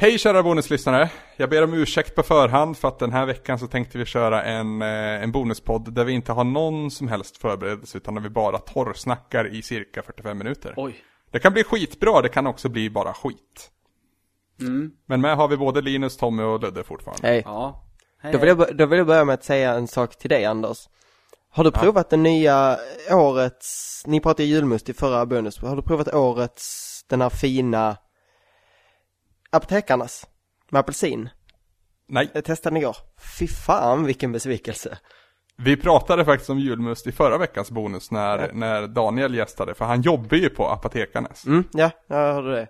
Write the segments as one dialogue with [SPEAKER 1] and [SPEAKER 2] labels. [SPEAKER 1] Hej kära bonuslyssnare! Jag ber om ursäkt på förhand för att den här veckan så tänkte vi köra en, eh, en bonuspodd där vi inte har någon som helst förberedelse utan där vi bara torrsnackar i cirka 45 minuter.
[SPEAKER 2] Oj.
[SPEAKER 1] Det kan bli skitbra, det kan också bli bara skit. Men med har vi både Linus, Tommy och Ludde fortfarande.
[SPEAKER 3] Hej.
[SPEAKER 2] Ja. Hej,
[SPEAKER 3] Då vill,
[SPEAKER 2] hej.
[SPEAKER 3] jag, bör- då vill jag börja med att säga en sak till dig Anders. Har du provat den nya årets, ni pratade ju julmust i förra bonus, har du provat årets, den här fina apotekarnas med apelsin?
[SPEAKER 1] Nej,
[SPEAKER 3] Jag testade den igår. Fy fan vilken besvikelse.
[SPEAKER 1] vi pratade faktiskt om julmust i förra veckans bonus när, när Daniel gästade, för han jobbar ju på Apotekarnes.
[SPEAKER 3] Mm, ja, jag hörde det.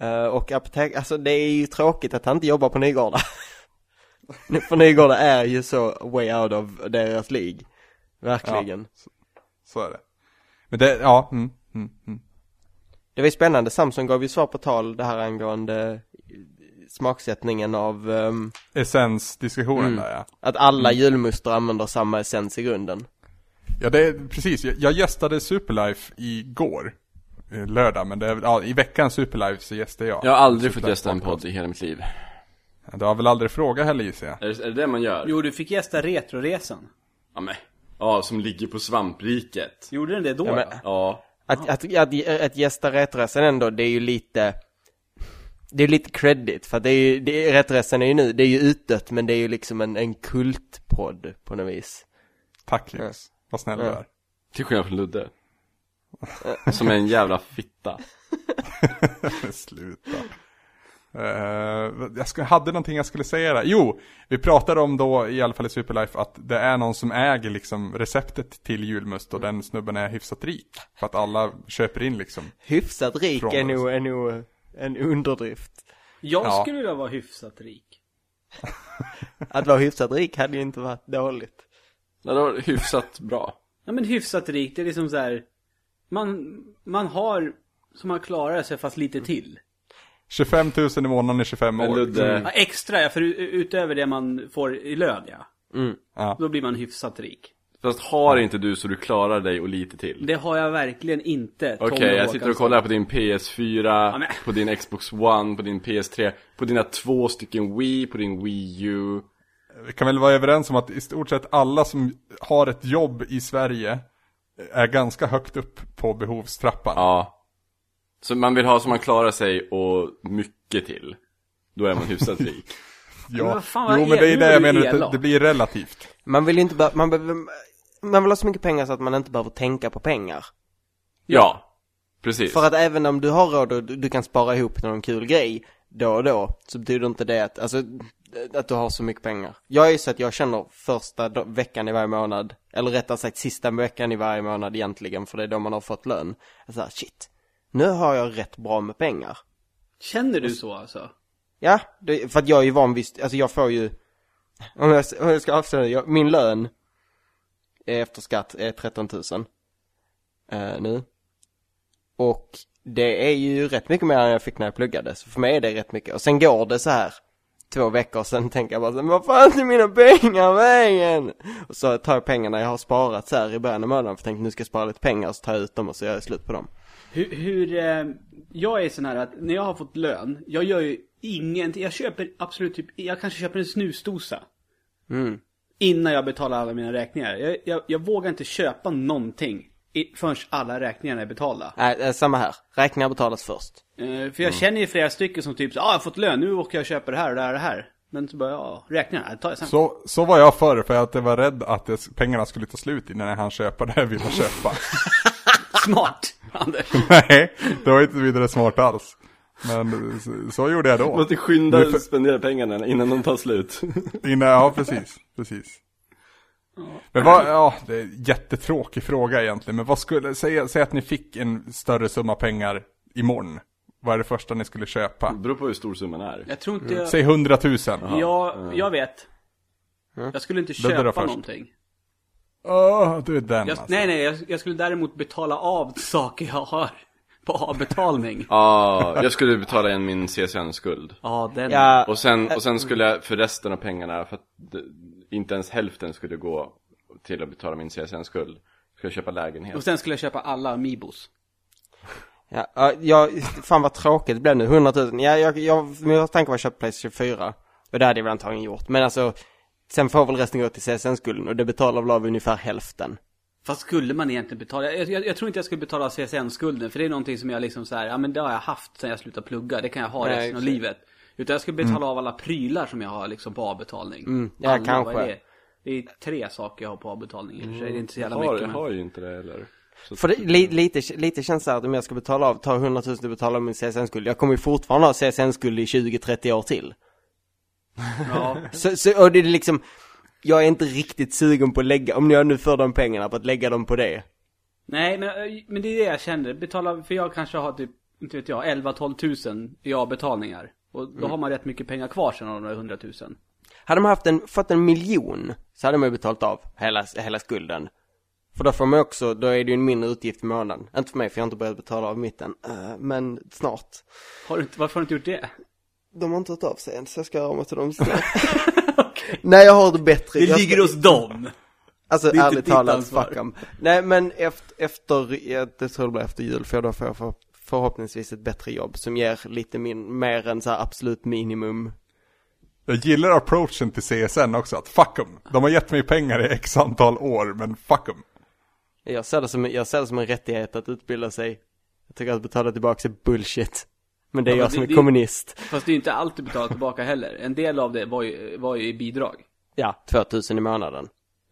[SPEAKER 3] Eh, och apotek, alltså det är ju tråkigt att han inte jobbar på Nygårda. För Nygårda är ju så way out of deras lig. Verkligen.
[SPEAKER 1] Så är det. Men det, ja, mm, mm, mm.
[SPEAKER 3] Det var ju spännande, Samsung gav ju svar på tal det här angående eh, smaksättningen av ehm,
[SPEAKER 1] Essensdiskussionen där ja.
[SPEAKER 3] att alla julmustar använder samma essens i grunden.
[SPEAKER 1] Ja, det är precis. Jag, jag gästade Superlife igår. eh, Lördag, men det är, väl- ja, i veckan Superlife så gästade jag.
[SPEAKER 2] Jag har aldrig fått
[SPEAKER 1] Superlife
[SPEAKER 2] gästa en
[SPEAKER 1] podcast.
[SPEAKER 2] podd i hela mitt liv.
[SPEAKER 1] Du har väl aldrig frågat heller gissar jag.
[SPEAKER 2] Är det, är det det man gör?
[SPEAKER 4] Jo, du fick gästa Retroresan.
[SPEAKER 2] Ja, men. ja, som ligger på svampriket.
[SPEAKER 4] Gjorde den det då?
[SPEAKER 3] Ja, men-
[SPEAKER 4] då?
[SPEAKER 2] Ja.
[SPEAKER 3] Att, att, att, att gästa Rätressen ändå, det är ju lite, det är lite credit för att det är ju, det, Rätressen är ju nu, det är ju utdött men det är ju liksom en, en kultpodd på något vis.
[SPEAKER 1] Tack Linus. Vad snäll du
[SPEAKER 3] Ja.
[SPEAKER 1] är.
[SPEAKER 2] Till skillnad från Ludde. Eh, Som är en jävla fitta.
[SPEAKER 1] Men Sluta. Eh, jag ska, hade någonting jag skulle säga där. Jo, vi pratade om då i alla fall i Superlife att det är någon som äger liksom receptet till julmust och den snubben är hyfsat rik. För att alla köper in liksom.
[SPEAKER 3] Hyfsat rik
[SPEAKER 1] Från
[SPEAKER 3] är
[SPEAKER 1] oss.
[SPEAKER 3] nog, är nog en underdrift.
[SPEAKER 4] Jag
[SPEAKER 1] Ja.
[SPEAKER 4] skulle vilja vara hyfsat rik.
[SPEAKER 3] Att vara hyfsat rik hade ju inte varit dåligt.
[SPEAKER 2] Ja, det var hyfsat bra.
[SPEAKER 4] Ja, men hyfsat rik, det är liksom så här. Man, man har så man klarar sig fast lite till.
[SPEAKER 1] 25 000 i månaden i 25
[SPEAKER 2] Men
[SPEAKER 1] år.
[SPEAKER 2] Ludde,
[SPEAKER 4] Ja, extra, ja, för u- utöver det man får i lön, ja.
[SPEAKER 2] Mm,
[SPEAKER 1] Ja.
[SPEAKER 4] Då blir man hyfsat rik.
[SPEAKER 2] fast har inte du så du klarar dig och lite till?
[SPEAKER 4] Det har jag verkligen inte, Tommy
[SPEAKER 2] Okej, jag sitter och
[SPEAKER 4] Håkansson.
[SPEAKER 2] kollar här på din PS4,
[SPEAKER 4] men-
[SPEAKER 2] på din Xbox One, på din PS3, på dina två stycken Wii, på din Wii U.
[SPEAKER 1] Vi kan väl vara överens om att i stort sett alla som har ett jobb i Sverige eh, är ganska högt upp på behovstrappan.
[SPEAKER 2] Ja. Så man vill ha så man klarar sig och mycket till. Då är man hyfsat rik.
[SPEAKER 1] Ja.
[SPEAKER 4] Men vad fan, vad
[SPEAKER 1] jo
[SPEAKER 4] är-
[SPEAKER 1] men det är
[SPEAKER 4] nu
[SPEAKER 1] det
[SPEAKER 4] är
[SPEAKER 1] jag
[SPEAKER 4] du
[SPEAKER 1] menar, att det,
[SPEAKER 4] elak.
[SPEAKER 1] det blir relativt.
[SPEAKER 3] Man vill ju inte bara, man behöver, man vill ha så mycket pengar så att man inte behöver tänka på pengar.
[SPEAKER 2] Ja, precis.
[SPEAKER 3] För att även om du har råd och du, du kan spara ihop någon kul grej då och då, så betyder inte det att, alltså, att du har så mycket pengar. Jag är ju så att jag känner första do- veckan i varje månad, eller rättare sagt sista veckan i varje månad egentligen, för det är då man har fått lön. Så här, shit, nu har jag rätt bra med pengar.
[SPEAKER 4] Känner du så alltså?
[SPEAKER 3] Ja, det, för att jag är ju van vid, alltså jag får ju, om jag, om jag ska avslöja, jag, min lön är efter skatt är 13 000 eh, nu. Och det är ju rätt mycket mer än jag fick när jag pluggade, så för mig är det rätt mycket. Och sen går det så här två veckor, sen tänker jag bara så här, "Men vad fan är mina pengar vägen? Och så tar jag pengarna jag har sparat så här i början av månaden, för jag tänkte nu ska jag spara lite pengar, så tar jag ut dem och så gör jag slut på dem.
[SPEAKER 4] Hur, hur eh, jag är sån här att när jag har fått lön, jag gör ju ingenting. Jag köper absolut typ, jag kanske köper en snusdosa.
[SPEAKER 3] Mm.
[SPEAKER 4] Innan jag betalar alla mina räkningar. Jag, jag, jag vågar inte köpa någonting i, förrän alla räkningarna är betalda.
[SPEAKER 3] Nej, eh, samma här. Räkningar betalas först.
[SPEAKER 4] Eh,
[SPEAKER 1] Mm.
[SPEAKER 4] för jag känner ju flera stycken som typ, ja ah, jag har fått lön, nu åker jag och köper det här och det här och det här. Men så bara, ja, räkningarna, det tar jag sen.
[SPEAKER 1] Så, så var jag förr för att jag var rädd att det, pengarna skulle ta slut innan jag hann köpa det jag ville köpa.
[SPEAKER 4] Smart, Anders.
[SPEAKER 1] Nej, det var inte vidare smart alls. Men så, så gjorde jag då.
[SPEAKER 2] Måste skynda
[SPEAKER 1] Nu för-
[SPEAKER 2] och spendera pengarna innan de tar slut.
[SPEAKER 1] Innan, ja precis, precis. Men vad, ja, det är en jättetråkig fråga egentligen, men vad skulle, säg, säg att ni fick en större summa pengar imorgon. Vad är det första ni skulle köpa?
[SPEAKER 2] Det beror på hur stor summan är.
[SPEAKER 4] Jag tror inte jag,
[SPEAKER 1] Mm. Säg 100 000.
[SPEAKER 4] jag, jag vet. Jag skulle inte
[SPEAKER 1] Ludde då
[SPEAKER 4] köpa
[SPEAKER 1] först.
[SPEAKER 4] någonting.
[SPEAKER 1] Åh, du är den
[SPEAKER 4] Jag,
[SPEAKER 1] alltså.
[SPEAKER 4] nej, nej, jag, jag skulle däremot betala av saker jag har på avbetalning.
[SPEAKER 2] Ja, jag skulle betala igen min CSN-skuld.
[SPEAKER 4] Ja, den.
[SPEAKER 3] Ja,
[SPEAKER 2] Och sen, och sen skulle jag för resten av pengarna, för att det- inte ens hälften skulle gå till att betala min CSN-skuld, skulle jag köpa lägenhet.
[SPEAKER 4] Och sen skulle jag köpa alla Amibos.
[SPEAKER 3] Ja, ja, jag, fan vad tråkigt det blev nu, 100 000. Ja, jag, jag, min tanke var att köpa Playstation 4. Och det hade jag väl antagligen gjort. Men alltså, sen får väl resten gå till CSN-skulden och det betalar väl av ungefär hälften.
[SPEAKER 4] Fast skulle man egentligen betala? Jag, jag, jag tror inte jag skulle betala CSN-skulden för det är någonting som jag liksom så här, ja men det har jag haft sen jag slutade plugga, det kan jag ha
[SPEAKER 3] Nej,
[SPEAKER 4] resten av
[SPEAKER 3] exakt.
[SPEAKER 4] livet. Utan jag skulle betala av alla prylar som jag har liksom på avbetalning.
[SPEAKER 3] Mm, ja,
[SPEAKER 4] alla,
[SPEAKER 3] kanske.
[SPEAKER 4] Vad är det? det är tre saker jag har på avbetalning i och för sig, det är inte så
[SPEAKER 2] Jag
[SPEAKER 4] jävla
[SPEAKER 2] har,
[SPEAKER 4] mycket.
[SPEAKER 2] jag
[SPEAKER 4] men-
[SPEAKER 2] har ju inte det heller. Så
[SPEAKER 3] För det, li, lite, lite känns det här att om jag ska betala av, ta 100 000 och betala av min CSN-skuld. Jag kommer ju fortfarande ha CSN-skuld i 20-30 år till.
[SPEAKER 4] Ja.
[SPEAKER 3] Så, så och det är liksom, jag är inte riktigt sugen på att lägga, om jag nu för de pengarna, på att lägga dem på det.
[SPEAKER 4] Nej, men, eh, men det är det jag känner. Betala, för jag kanske har typ, inte vet jag, 11-12 000 i avbetalningar. Och
[SPEAKER 2] Mm.
[SPEAKER 4] då har man rätt mycket pengar kvar sen av de där 100 000.
[SPEAKER 3] Hade man haft en, fått en miljon så hade man ju betalat av hela, hela skulden. För då får man också, då är det ju en mindre utgift i månaden. Inte för mig för jag har inte börjat betala av mitt än. Eh, men snart.
[SPEAKER 4] Har du, inte- varför har du inte gjort det?
[SPEAKER 3] De har inte hört av sig än så jag ska höra om till dem snart. Nej jag har det bättre. jag ska,
[SPEAKER 4] hos dem!
[SPEAKER 3] alltså
[SPEAKER 4] det är inte
[SPEAKER 3] ärligt
[SPEAKER 4] ditt
[SPEAKER 3] talat,
[SPEAKER 4] ansvar.
[SPEAKER 3] fuck em. Nej men efter, efter jag- det tror jag blir efter jul för jag då får jag för, förhoppningsvis ett bättre jobb som ger lite min, mer än så här absolut minimum.
[SPEAKER 1] Jag gillar approachen till CSN också, att fuck dem. De har gett mig pengar i x antal år, men fuck dem.
[SPEAKER 3] Jag ser det som, jag ser det som en rättighet att utbilda sig. Jag tycker att betala tillbaka är bullshit. Men det är
[SPEAKER 4] Ja, men
[SPEAKER 3] jag som
[SPEAKER 4] det-
[SPEAKER 3] är
[SPEAKER 4] det-
[SPEAKER 3] kommunist.
[SPEAKER 4] Fast det är ju inte allt du betalar tillbaka heller. En del av det var ju, var ju i bidrag.
[SPEAKER 3] Ja, 2000 i månaden.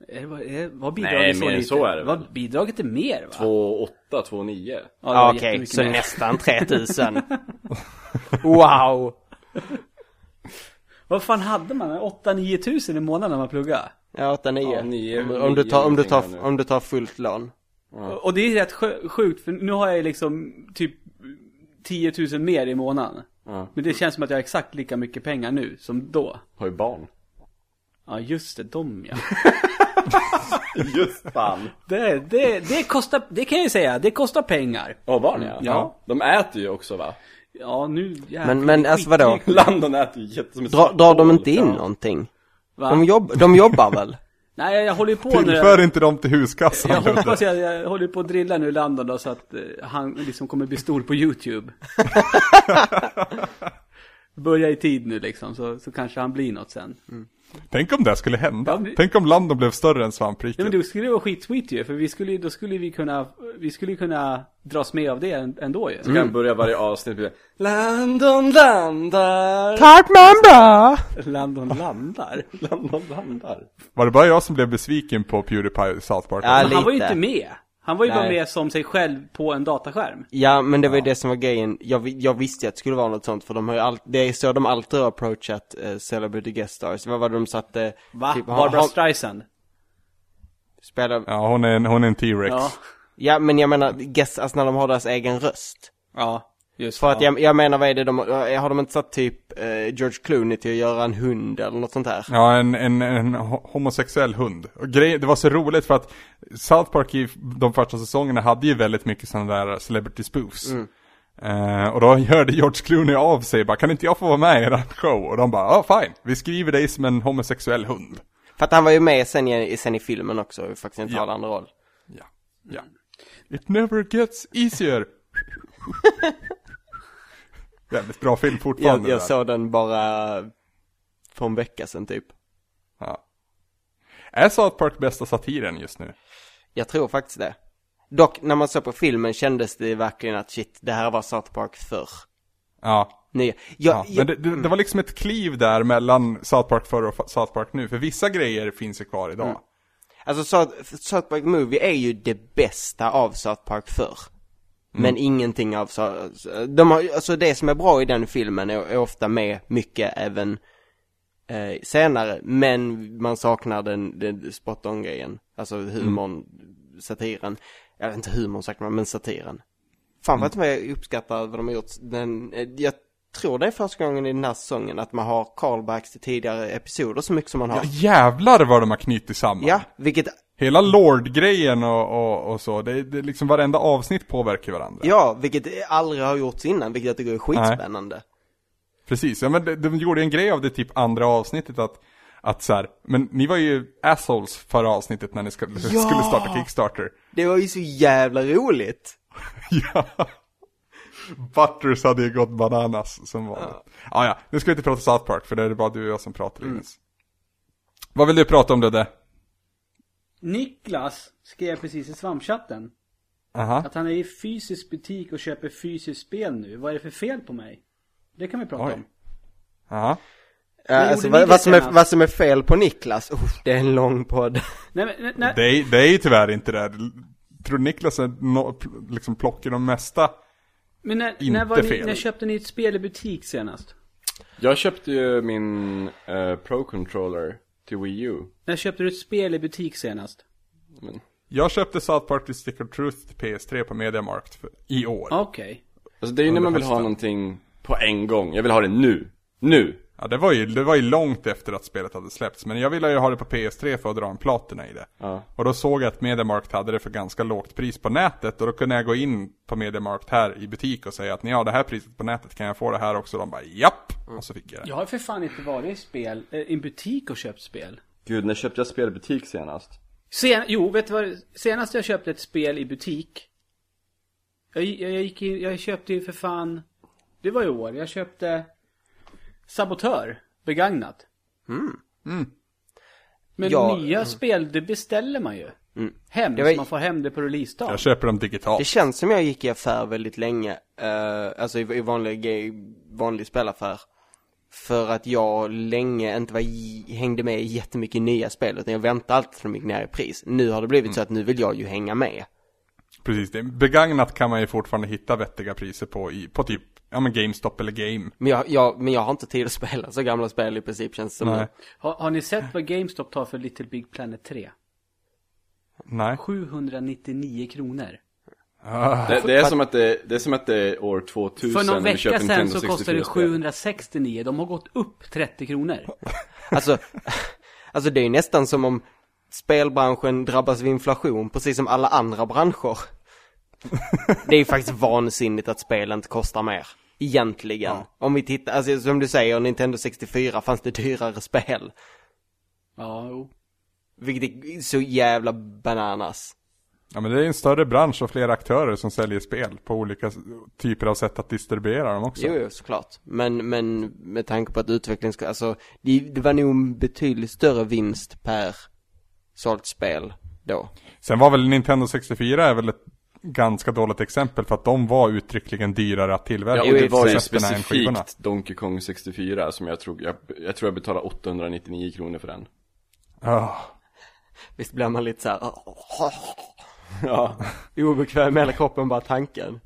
[SPEAKER 4] Är det- Var, är- var bidraget
[SPEAKER 2] Nej,
[SPEAKER 4] så
[SPEAKER 2] mer än
[SPEAKER 4] lite?
[SPEAKER 2] så är det väl.
[SPEAKER 4] Var bidraget är mer va?
[SPEAKER 2] 2,8, 2,9.
[SPEAKER 4] Ja, det var
[SPEAKER 3] Ja, Okej,
[SPEAKER 4] jättemycket
[SPEAKER 3] så
[SPEAKER 4] mer.
[SPEAKER 3] nästan 3000. wow!
[SPEAKER 4] Vad fan hade man? 8-9 tusen i månaden när man pluggade?
[SPEAKER 3] Ja, 8 9.
[SPEAKER 2] Ja, nio,
[SPEAKER 3] om, om, du
[SPEAKER 2] nio
[SPEAKER 3] tar, om, du
[SPEAKER 2] någonting här
[SPEAKER 3] tar,
[SPEAKER 2] nu.
[SPEAKER 3] om du tar fullt lån.
[SPEAKER 4] Och- Och det är rätt sjö- sjukt för nu har jag ju liksom typ 10 000 mer i månaden.
[SPEAKER 2] Ja.
[SPEAKER 4] Men det känns som att jag har exakt lika mycket pengar nu som då.
[SPEAKER 2] Har ju barn.
[SPEAKER 4] Ja just det, de ja.
[SPEAKER 2] Just fan.
[SPEAKER 4] Det, det, det kostar, det kan jag ju säga, det kostar pengar.
[SPEAKER 2] Ja, barn ja.
[SPEAKER 4] Ja.
[SPEAKER 2] De äter ju också va?
[SPEAKER 4] Ja nu jävlar.
[SPEAKER 3] Men, men alltså vadå?
[SPEAKER 2] Landon äter ju jättesom
[SPEAKER 3] Dra, drar de inte in någonting?
[SPEAKER 4] Va?
[SPEAKER 3] De, jobb, de jobbar väl?
[SPEAKER 4] Nej jag håller ju på nu.
[SPEAKER 1] Tillför inte dem till
[SPEAKER 4] Jag
[SPEAKER 1] huskassan.
[SPEAKER 4] hoppas jag, jag håller på att drilla nu Landon då så att eh, han liksom kommer bli stor på YouTube. Börja i tid nu liksom så, så kanske han blir något sen.
[SPEAKER 1] Tänk om det här skulle hända.
[SPEAKER 4] Ja, men-
[SPEAKER 1] Tänk om Landon blev större än
[SPEAKER 4] Nej
[SPEAKER 1] svampriket.
[SPEAKER 4] men det skulle vara skitsweet ju för vi skulle ju- då skulle vi kunna, vi skulle ju kunna dras med av det än- ändå ju.
[SPEAKER 2] Kan börja varje avsnitt med Landon landar.
[SPEAKER 3] Tart Mamba!
[SPEAKER 1] Mm.
[SPEAKER 4] Landon landar.
[SPEAKER 2] Landon landar.
[SPEAKER 1] Var det bara jag som blev besviken på Pewdiepie i South Park?
[SPEAKER 3] Ja,
[SPEAKER 4] Men han var ju
[SPEAKER 3] lite.
[SPEAKER 4] inte med. Han var ju bara
[SPEAKER 3] Nej.
[SPEAKER 4] med som sig själv på en dataskärm.
[SPEAKER 3] Ja, men det var ju det som var grejen. Jag, vi- jag visste ju att det skulle vara något sånt, för de har ju allt, det är så de alltid har approachat eh, Celebrity Guest Stars. Vad var det de satte?
[SPEAKER 4] Va?
[SPEAKER 3] Typ, ha-
[SPEAKER 4] Barbara
[SPEAKER 3] ha-
[SPEAKER 4] Streisand?
[SPEAKER 3] spelar, ja.
[SPEAKER 1] Ja, hon är en, hon är en T-Rex.
[SPEAKER 4] Ja.
[SPEAKER 3] men jag menar, guess, alltså när de har deras egen röst.
[SPEAKER 4] Ja, just
[SPEAKER 3] För att
[SPEAKER 4] ja.
[SPEAKER 3] jag, jag menar, vad är det de, eh, har de inte satt typ eh, George Clooney till att göra en hund eller något sånt här?
[SPEAKER 1] Ja, en, en, en ho- homosexuell hund. Och grej, det var så roligt för att South Park i de första säsongerna hade ju väldigt mycket sådana där celebrity spoofs.
[SPEAKER 3] Mm.
[SPEAKER 1] Eh, och då hörde George Clooney av sig bara, kan inte jag få vara med i er show? Och de bara, ja fine, vi skriver dig som en homosexuell hund.
[SPEAKER 3] För att han var ju med sen i, sen i filmen också, och faktiskt inte
[SPEAKER 1] Ja.
[SPEAKER 3] har en annan roll.
[SPEAKER 1] Ja, ja. It never gets easier. Väldigt bra film fortfarande.
[SPEAKER 3] Jag, jag
[SPEAKER 1] där.
[SPEAKER 3] såg den bara för en vecka sedan typ.
[SPEAKER 1] Ja. Är South Park bästa satiren just nu?
[SPEAKER 3] Jag tror faktiskt det. Dock, när man såg på filmen kändes det verkligen att shit, det här var South Park förr.
[SPEAKER 1] Ja,
[SPEAKER 3] Nej,
[SPEAKER 1] Ja,
[SPEAKER 3] jag,
[SPEAKER 1] men
[SPEAKER 3] jag,
[SPEAKER 1] det, det, det var liksom ett kliv där mellan South Park förr och fa- South Park nu, för vissa grejer finns ju kvar idag.
[SPEAKER 3] alltså South, South Park Movie är ju det bästa av South Park förr.
[SPEAKER 1] Mm.
[SPEAKER 3] Men ingenting av så, de har, alltså det som är bra i den filmen är, är ofta med mycket även eh, senare, men man saknar den, den spot on grejen. Alltså humorn, satiren. Eller inte humorn saknar man, men satiren.
[SPEAKER 1] Mm.
[SPEAKER 3] Fan vad jag uppskattar vad de har gjort. Den, eh, jag tror det är första gången i den här säsongen att man har callbacks till tidigare episoder så mycket som man har.
[SPEAKER 1] Ja, jävlar vad de har knutit samman.
[SPEAKER 3] Ja, vilket,
[SPEAKER 1] Hela Lord-grejen och, och, och så, det, det är liksom varenda avsnitt påverkar varandra.
[SPEAKER 3] ja, vilket aldrig har gjorts innan, vilket jag tycker är skitspännande.
[SPEAKER 1] Precis, ja, men de, de gjorde en grej av det typ andra avsnittet att, att så här, men ni var ju assholes förra avsnittet när ni ska, skulle starta Kickstarter.
[SPEAKER 3] Det var ju så jävla roligt.
[SPEAKER 1] ja. Butters hade ju gått bananas som vanligt. Ja. Ah, ja, nu ska vi inte prata South Park för det är bara du och jag som pratar Linus. Vad vill du prata om Ludde?
[SPEAKER 4] Niklas skrev precis i svampchatten
[SPEAKER 1] Aha.
[SPEAKER 4] att han är i fysisk butik och köper fysiskt spel nu. Vad är det för fel på mig? Det kan vi prata
[SPEAKER 1] Oj.
[SPEAKER 4] om.
[SPEAKER 1] Aha.
[SPEAKER 3] Ja, alltså,
[SPEAKER 4] gjorde
[SPEAKER 3] vad,
[SPEAKER 4] ni
[SPEAKER 3] vad, som är,
[SPEAKER 4] senast?
[SPEAKER 3] vad som är fel på Niklas, oh, det är en lång podd.
[SPEAKER 4] Nej, men, nej, nej.
[SPEAKER 1] Det, är, det är ju tyvärr inte det. Tror Niklas är no, pl- liksom plockar de mesta?
[SPEAKER 4] men när,
[SPEAKER 1] inte
[SPEAKER 4] när, var ni,
[SPEAKER 1] fel.
[SPEAKER 4] när köpte ni ett spel i butik senast?
[SPEAKER 2] Jag köpte ju min eh, Pro Controller till Wii U.
[SPEAKER 4] När köpte du ett spel i butik senast?
[SPEAKER 2] Men,
[SPEAKER 1] Jag köpte South Park The Stick of Truth till PS3 på MediaMarkt för, i år. Ja.
[SPEAKER 4] Okej.
[SPEAKER 2] alltså det är ju när man vill ha
[SPEAKER 1] hösten.
[SPEAKER 2] någonting på en gång. Jag vill ha det nu. Nu!
[SPEAKER 1] det, var ju, det var ju långt efter att spelet hade släppts. Men jag ville ju ha det på PS3 för att dra en platina i det.
[SPEAKER 2] Ja.
[SPEAKER 1] Och då såg jag att MediaMarkt hade det för ganska lågt pris på nätet. Och då kunde jag gå in på MediaMarkt här i butik och säga att ni har det här priset på nätet, kan jag få det här också? De bara japp! Och så fick jag det.
[SPEAKER 4] Jag har för fan inte varit i spel, eh, i en butik och köpt spel.
[SPEAKER 2] Gud, när köpte jag spel i butik senast?
[SPEAKER 4] Sen, jo, vet du vad? Senast jag köpte ett spel i butik. Jag, jag, jag gick in, jag köpte ju för fan. Det var i år. Jag köpte Sabotör. Begagnat. Men
[SPEAKER 3] Ja,
[SPEAKER 4] nya spel, det beställer man ju. Hem,
[SPEAKER 3] Det var-
[SPEAKER 4] så man får hem det på releasedag.
[SPEAKER 1] Jag köper dem digitalt.
[SPEAKER 3] Det känns som jag gick i affär väldigt länge, eh, alltså i, i vanlig, i vanlig spelaffär. För att jag länge inte var, i- hängde med i jättemycket nya spel, utan jag väntade alltid tills de gick ner i pris. Nu har det blivit så att nu vill jag ju hänga med.
[SPEAKER 1] Precis, det. begagnat kan man ju fortfarande hitta vettiga priser på i, på typ, ja men GameStop eller Game.
[SPEAKER 3] Men jag, jag, men jag har inte tid att spela så gamla spel i princip känns det som.
[SPEAKER 1] Nej.
[SPEAKER 4] Har, har ni sett vad GameStop tar för Little Big Planet 3?
[SPEAKER 1] Nej.
[SPEAKER 4] 799 kronor.
[SPEAKER 2] Det, det, är som att det, det är som att det är år 2000
[SPEAKER 4] För någon
[SPEAKER 2] och vi köper
[SPEAKER 4] vecka sedan
[SPEAKER 2] Nintendo
[SPEAKER 4] så kostade det
[SPEAKER 2] 64 -spel.
[SPEAKER 4] 769. De har gått upp 30 kronor.
[SPEAKER 3] Alltså, alltså det är ju nästan som om spelbranschen drabbas av inflation, precis som alla andra branscher. Det är ju faktiskt vansinnigt att spel inte kostar mer. Egentligen. Om vi tittar, alltså som du säger, Nintendo 64 fanns det dyrare spel.
[SPEAKER 4] Ja, jo.
[SPEAKER 3] Vilket är så jävla bananas.
[SPEAKER 1] Ja men det är en större bransch och flera aktörer som säljer spel på olika s- typer av sätt att distribuera dem också.
[SPEAKER 3] Jo, jo, såklart. Men, men med tanke på att utvecklingen ska, alltså, det, det var nog en betydligt större vinst per sålt spel då.
[SPEAKER 1] Sen var väl Nintendo 64 är väl ett ganska dåligt exempel för att de var uttryckligen dyrare att tillverka.
[SPEAKER 2] Ja, och det
[SPEAKER 3] Jo,
[SPEAKER 2] var ju
[SPEAKER 1] Recepten är en skivorna.
[SPEAKER 2] specifikt Donkey Kong 64 som jag tror, jag, jag tror jag betalade 899 kronor för den.
[SPEAKER 1] Ah.
[SPEAKER 3] Visst blir man lite så här. "Ah,
[SPEAKER 2] Ja.
[SPEAKER 3] obekväm i hela kroppen bara tanken.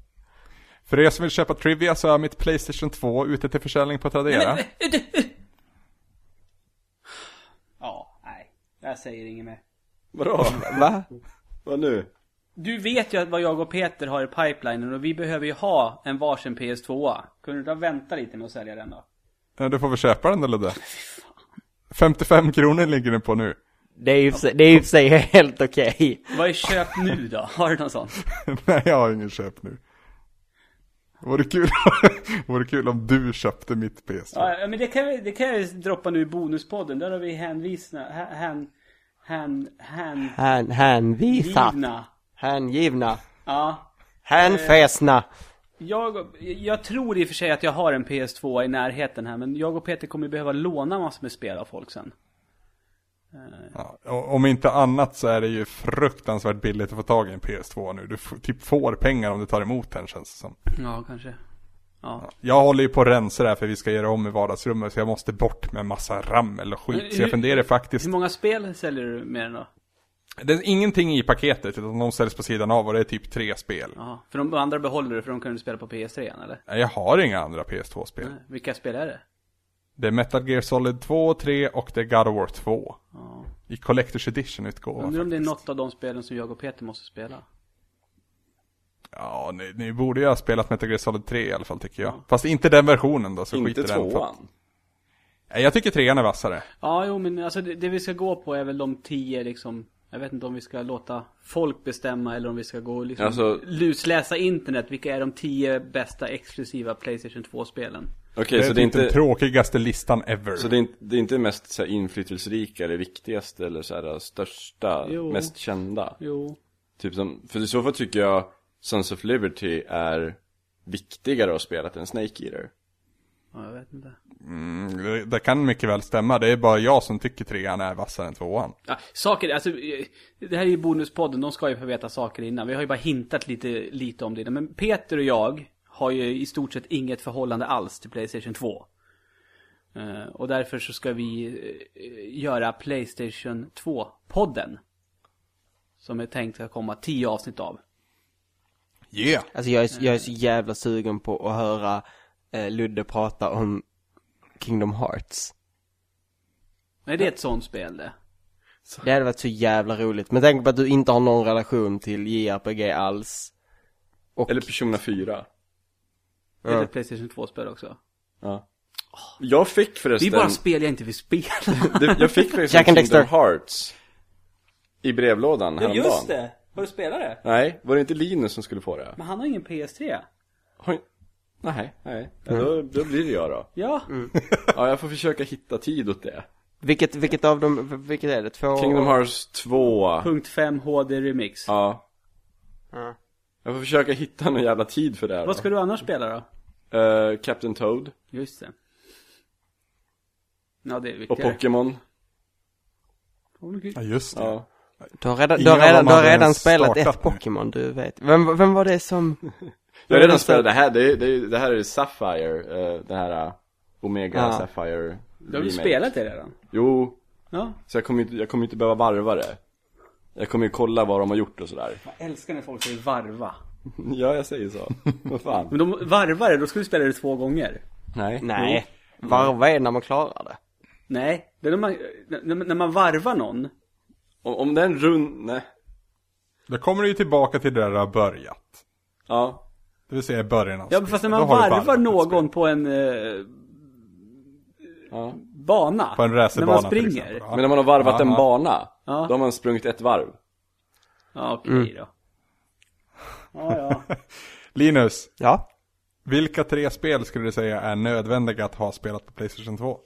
[SPEAKER 1] För er som vill köpa Trivia så är mitt Playstation 2 ute till försäljning på Tradera.
[SPEAKER 4] Ja, nej. Jag säger inget mer.
[SPEAKER 2] Vadå?
[SPEAKER 3] Va?
[SPEAKER 2] Vad nu?
[SPEAKER 4] Du vet ju att vad jag och Peter har i pipelinen och vi behöver ju ha en varsin PS2. Kunde du inte vänta lite med att sälja den då?
[SPEAKER 1] Ja, Du får väl köpa den eller det? 55 kronor ligger den på nu.
[SPEAKER 3] Det är ju för sig- det är ju för sig helt okej.
[SPEAKER 4] Vad är köp nu då? Har du någon sån?
[SPEAKER 1] Nej, jag har ingen köp nu. Vore kul, vore kul om du köpte mitt PS3.
[SPEAKER 4] Ja, ja, men det kan, vi- det kan jag ju droppa nu i bonuspodden. Där har vi hänvisna, hä- hän, hän, hän,
[SPEAKER 3] Han, hänvisat.
[SPEAKER 4] givna.
[SPEAKER 3] Hängivna.
[SPEAKER 4] Ja.
[SPEAKER 3] Hänfäsna.
[SPEAKER 4] Jag, och- jag tror i och för sig att jag har en PS2 i närheten här, men jag och Peter kommer ju behöva låna massor med spel av folk sen.
[SPEAKER 1] Ja, och- om inte annat så är det ju fruktansvärt billigt att få tag i en PS2 nu. Du f- typ får pengar om du tar emot den känns det som.
[SPEAKER 4] Ja, kanske. Ja.
[SPEAKER 1] Jag håller ju på att rensa det här för vi ska göra om i vardagsrummet så jag måste bort med massa rammel och skit. Så jag
[SPEAKER 4] Hur-
[SPEAKER 1] funderar faktiskt,
[SPEAKER 4] Hur många spel säljer du med den då?
[SPEAKER 1] det är ingenting i paketet utan de säljs på sidan av och det är typ tre spel.
[SPEAKER 4] Ja, för de andra behåller du för de kan du spela på PS3 igen, eller?
[SPEAKER 1] Nej, Jag har inga andra PS2-spel.
[SPEAKER 4] Nej, Vilka spel är det?
[SPEAKER 1] Det är Metal Gear Solid 2, 3 och det är God of War 2.
[SPEAKER 4] Ja.
[SPEAKER 1] I Collector's Edition-utgåva.
[SPEAKER 4] Undrar om det är
[SPEAKER 1] faktiskt.
[SPEAKER 4] något av de spelen som jag och Peter måste spela.
[SPEAKER 1] Ja, ni, ni borde ju ha spelat Metal Gear Solid 3 i alla fall tycker jag. Fast inte den versionen då, så skit i
[SPEAKER 2] Inte
[SPEAKER 1] den. för att-
[SPEAKER 2] tvåan?
[SPEAKER 1] Nej, jag tycker trean är vassare.
[SPEAKER 4] Ja, jo, men alltså det, det vi ska gå på är väl de tio liksom. Jag vet inte om vi ska låta folk bestämma eller om vi ska gå och liksom
[SPEAKER 2] Alltså-
[SPEAKER 4] lusläsa internet. Vilka är de tio bästa exklusiva Playstation 2-spelen?
[SPEAKER 2] Okej,
[SPEAKER 1] det är,
[SPEAKER 2] så
[SPEAKER 1] typ
[SPEAKER 2] det är
[SPEAKER 1] den
[SPEAKER 2] inte...
[SPEAKER 1] tråkigaste listan ever.
[SPEAKER 2] Så det är inte, det är inte mest så här, inflytelserika eller viktigaste eller så här, största,
[SPEAKER 4] Jo.
[SPEAKER 2] mest kända?
[SPEAKER 4] Jo.
[SPEAKER 2] Typ som, för i så fall tycker jag Sons of Liberty är viktigare att spela än Snake Eater.
[SPEAKER 4] Ja, jag vet inte.
[SPEAKER 1] Mm, det, det kan mycket väl stämma, det är bara jag som tycker trean är vassare än tvåan.
[SPEAKER 4] Ja, saker, alltså, eh, det här är ju bonuspodden, de ska ju få veta saker innan. Vi har ju bara hintat lite, lite om det innan. Men Peter och jag har ju i stort sett inget förhållande alls till Playstation 2. Eh, Och därför så ska vi eh, göra Playstation 2-podden. Som är tänkt att komma tio avsnitt av.
[SPEAKER 1] Yeah!
[SPEAKER 3] Alltså jag är, jag är så jävla sugen på att höra eh, Ludde prata om Kingdom Hearts.
[SPEAKER 4] Nej, det är ett sånt spel det.
[SPEAKER 3] Det hade varit så jävla roligt. Men tänk på att du inte har någon relation till JRPG alls. Och,
[SPEAKER 2] Eller Persona 4.
[SPEAKER 4] Det är ett Playstation 2-spel också.
[SPEAKER 2] Ja. Jag fick
[SPEAKER 4] Det är
[SPEAKER 2] förresten...
[SPEAKER 4] bara spel jag inte vill spela.
[SPEAKER 2] det, jag fick förresten
[SPEAKER 3] Jack and
[SPEAKER 2] Kingdom
[SPEAKER 3] Dexter.
[SPEAKER 2] Hearts. I brevlådan häromdagen.
[SPEAKER 4] det! Har du spelat det?
[SPEAKER 2] Nej, var det inte Linus som skulle få det?
[SPEAKER 4] Men han har ingen PS3.
[SPEAKER 2] Har... Nej, nej. Ja, då, då blir det jag då.
[SPEAKER 4] Ja.
[SPEAKER 2] Ja, jag får försöka hitta tid åt det.
[SPEAKER 3] vilket, vilket av dem, vilket är det? Två?
[SPEAKER 2] Kingdom Hearts 2.
[SPEAKER 4] Punkt 5 HD Remix.
[SPEAKER 2] Ja. Jag får försöka hitta någon jävla tid för det här
[SPEAKER 4] Vad
[SPEAKER 2] då.
[SPEAKER 4] ska du annars spela då?
[SPEAKER 2] Eh, Captain Toad
[SPEAKER 4] Just det. Ja, det är
[SPEAKER 2] och
[SPEAKER 4] viktigare.
[SPEAKER 2] Pokémon.
[SPEAKER 1] Ja, just det.
[SPEAKER 2] Ja.
[SPEAKER 3] Du har redan, du
[SPEAKER 1] Ingen av
[SPEAKER 3] har redan,
[SPEAKER 1] dem
[SPEAKER 3] du har
[SPEAKER 1] hade
[SPEAKER 3] redan
[SPEAKER 1] ens
[SPEAKER 3] spelat
[SPEAKER 1] startat
[SPEAKER 3] ett
[SPEAKER 1] nu.
[SPEAKER 3] Pokémon, du vet. Vem, vem var det som...
[SPEAKER 2] Jag har redan spelat det här, det, är- det, är- det här är Sapphire, eh, det här eh, Omega
[SPEAKER 3] Ja.
[SPEAKER 2] Sapphire
[SPEAKER 4] Du har väl
[SPEAKER 2] remake.
[SPEAKER 4] spelat det redan?
[SPEAKER 2] Jo,
[SPEAKER 4] Ja.
[SPEAKER 2] så jag kommer, inte, jag kommer inte behöva varva det Jag kommer ju kolla vad de har gjort och sådär
[SPEAKER 4] Jag älskar när folk säger varva.
[SPEAKER 2] Ja, jag säger så, vad fan
[SPEAKER 4] Men de varvar det, då ska du spela det två gånger.
[SPEAKER 2] Nej,
[SPEAKER 3] Nej. Varva är när man klarar det.
[SPEAKER 4] Nej, det är när man, när, när man varvar någon.
[SPEAKER 2] Om, om den rund, nej,
[SPEAKER 1] Då kommer du ju tillbaka till det där du har börjat.
[SPEAKER 2] ja
[SPEAKER 1] Det vill säga i början av
[SPEAKER 4] Ja, men
[SPEAKER 1] spelet.
[SPEAKER 4] fast när
[SPEAKER 1] Då har
[SPEAKER 4] man
[SPEAKER 1] du
[SPEAKER 4] varvar
[SPEAKER 1] varvat ett spel.
[SPEAKER 4] någon på en eh,
[SPEAKER 2] Ja.
[SPEAKER 4] bana.
[SPEAKER 1] På en
[SPEAKER 4] När
[SPEAKER 1] racerbana
[SPEAKER 4] man
[SPEAKER 1] till exempel,
[SPEAKER 4] springer.
[SPEAKER 1] ja.
[SPEAKER 2] Men när man har varvat
[SPEAKER 1] Ja,
[SPEAKER 2] en
[SPEAKER 1] ja.
[SPEAKER 2] bana,
[SPEAKER 4] Ja.
[SPEAKER 2] då har man sprungit ett varv
[SPEAKER 4] Ja, okej då. Mm. Ja, ja.
[SPEAKER 1] Linus,
[SPEAKER 3] Ja.
[SPEAKER 1] vilka tre spel skulle du säga är nödvändiga att ha spelat på Playstation 2?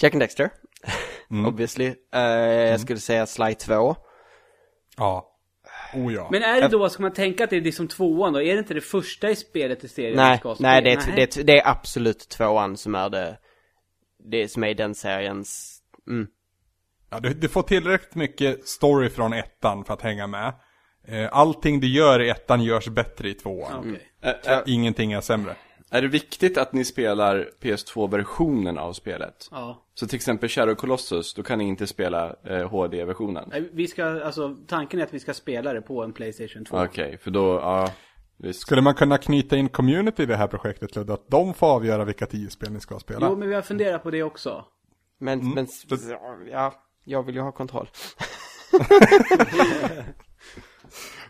[SPEAKER 3] Jack and Dexter.
[SPEAKER 1] Mm.
[SPEAKER 3] Obviously. Eh, jag skulle säga Sly 2.
[SPEAKER 1] Ja. Oh ja.
[SPEAKER 4] Men är det då, ska man tänka att det är liksom tvåan då? Är det inte det första i spelet i serien vi
[SPEAKER 3] Nej,
[SPEAKER 4] ska spela?
[SPEAKER 3] nej det, är, det, är, det är absolut tvåan som är det, det som är den seriens, mm.
[SPEAKER 1] Ja, du, du får tillräckligt mycket story från ettan för att hänga med. Eh, Allting du gör i ettan görs bättre i tvåan. Eh,
[SPEAKER 4] Okej.
[SPEAKER 2] Ä- ä-
[SPEAKER 1] Ingenting är sämre.
[SPEAKER 2] Är det viktigt att ni spelar PS2-versionen av spelet?
[SPEAKER 4] Ja.
[SPEAKER 2] Så till exempel Shadow Colossus, då kan ni inte spela eh, HD-versionen?
[SPEAKER 4] Nej, Vi ska, alltså tanken är att vi ska spela det på en Playstation 2.
[SPEAKER 2] Okej, för då, ja, visst.
[SPEAKER 1] Skulle man kunna knyta in community i det här projektet Ludde? Att de får avgöra vilka tio spel ni ska spela?
[SPEAKER 4] Jo, men vi har funderat på det också.
[SPEAKER 3] Men,
[SPEAKER 1] Mm.
[SPEAKER 3] men, ja, jag vill ju ha kontroll.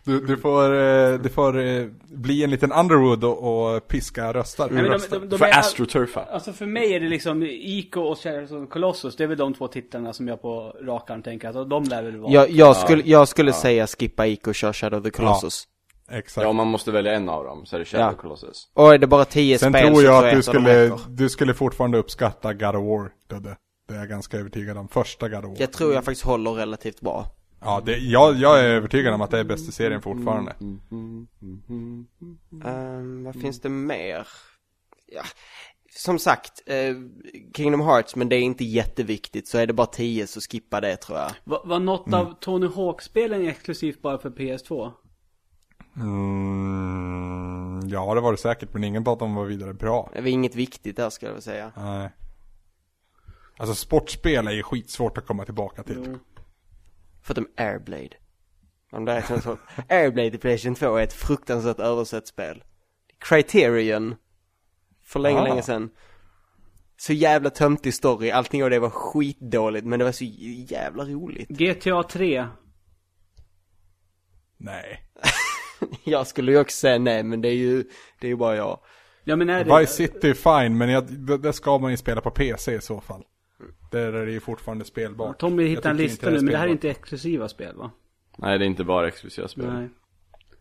[SPEAKER 1] Du, du får, eh, du får eh, bli en liten Underwood och, och piska röstar.
[SPEAKER 4] Nej, Mm. men
[SPEAKER 1] röster.
[SPEAKER 4] de, de, de
[SPEAKER 2] för
[SPEAKER 4] är,
[SPEAKER 2] AstroTurfa.
[SPEAKER 4] Alltså för mig är det liksom Ico och Shadows of the Colossus, det är väl de två titlarna som jag på rak arm tänker att alltså, de lär väl vara.
[SPEAKER 3] Jag, jag skulle, jag skulle säga skippa Ico och kör Shadow of the Colossus.
[SPEAKER 1] Exakt.
[SPEAKER 2] Ja, om man måste välja en av dem så är det Shadow
[SPEAKER 3] Ja.
[SPEAKER 2] Colossus.
[SPEAKER 3] Och är det bara tio
[SPEAKER 1] Sen
[SPEAKER 3] spel
[SPEAKER 1] tror
[SPEAKER 3] så
[SPEAKER 1] jag
[SPEAKER 3] tror
[SPEAKER 1] att du
[SPEAKER 3] ett av dem
[SPEAKER 1] skulle,
[SPEAKER 3] räcker.
[SPEAKER 1] du skulle fortfarande uppskatta God of War, Ludde. Det är jag ganska övertygad om. Första God of War.
[SPEAKER 3] Jag tror jag faktiskt håller relativt bra.
[SPEAKER 1] Ja, det, jag, jag är övertygad om att det är bästa serien fortfarande.
[SPEAKER 3] Mm, Ehm, vad finns det mer? Ja, som sagt, eh, Kingdom Hearts, men det är inte jätteviktigt. Så är det bara 10 så skippa det tror jag.
[SPEAKER 4] Var, var något av Tony Hawk-spelen exklusivt bara för PS2?
[SPEAKER 1] Mm, ja, det var det säkert, men ingen av dem var vidare bra.
[SPEAKER 3] Det är inget viktigt där skulle jag vilja säga.
[SPEAKER 1] Nej. Alltså sportspel är ju skitsvårt att komma tillbaka till.
[SPEAKER 3] Mm. Förutom Airblade. Om det är så. Airblade i Playstation 2 är ett fruktansvärt översatt spel. Criterion. För länge,
[SPEAKER 1] Ah.
[SPEAKER 3] länge sedan. Så jävla töntig story, allting av det var skitdåligt men det var så jävla roligt.
[SPEAKER 4] GTA 3.
[SPEAKER 1] Nej.
[SPEAKER 3] Jag skulle ju också säga nej men det är ju, det är ju bara jag.
[SPEAKER 4] Ja men är det...
[SPEAKER 1] Vice City är fine, men jag, det, det ska man ju spela på PC i så fall. Där är det ju fortfarande spelbart.
[SPEAKER 4] Tommy
[SPEAKER 1] Jag
[SPEAKER 4] hittar en
[SPEAKER 1] tycker
[SPEAKER 4] lista nu, men det här är
[SPEAKER 1] spelbart.
[SPEAKER 4] inte exklusiva spel va?
[SPEAKER 2] Nej, det är inte bara exklusiva spel.
[SPEAKER 4] Nej.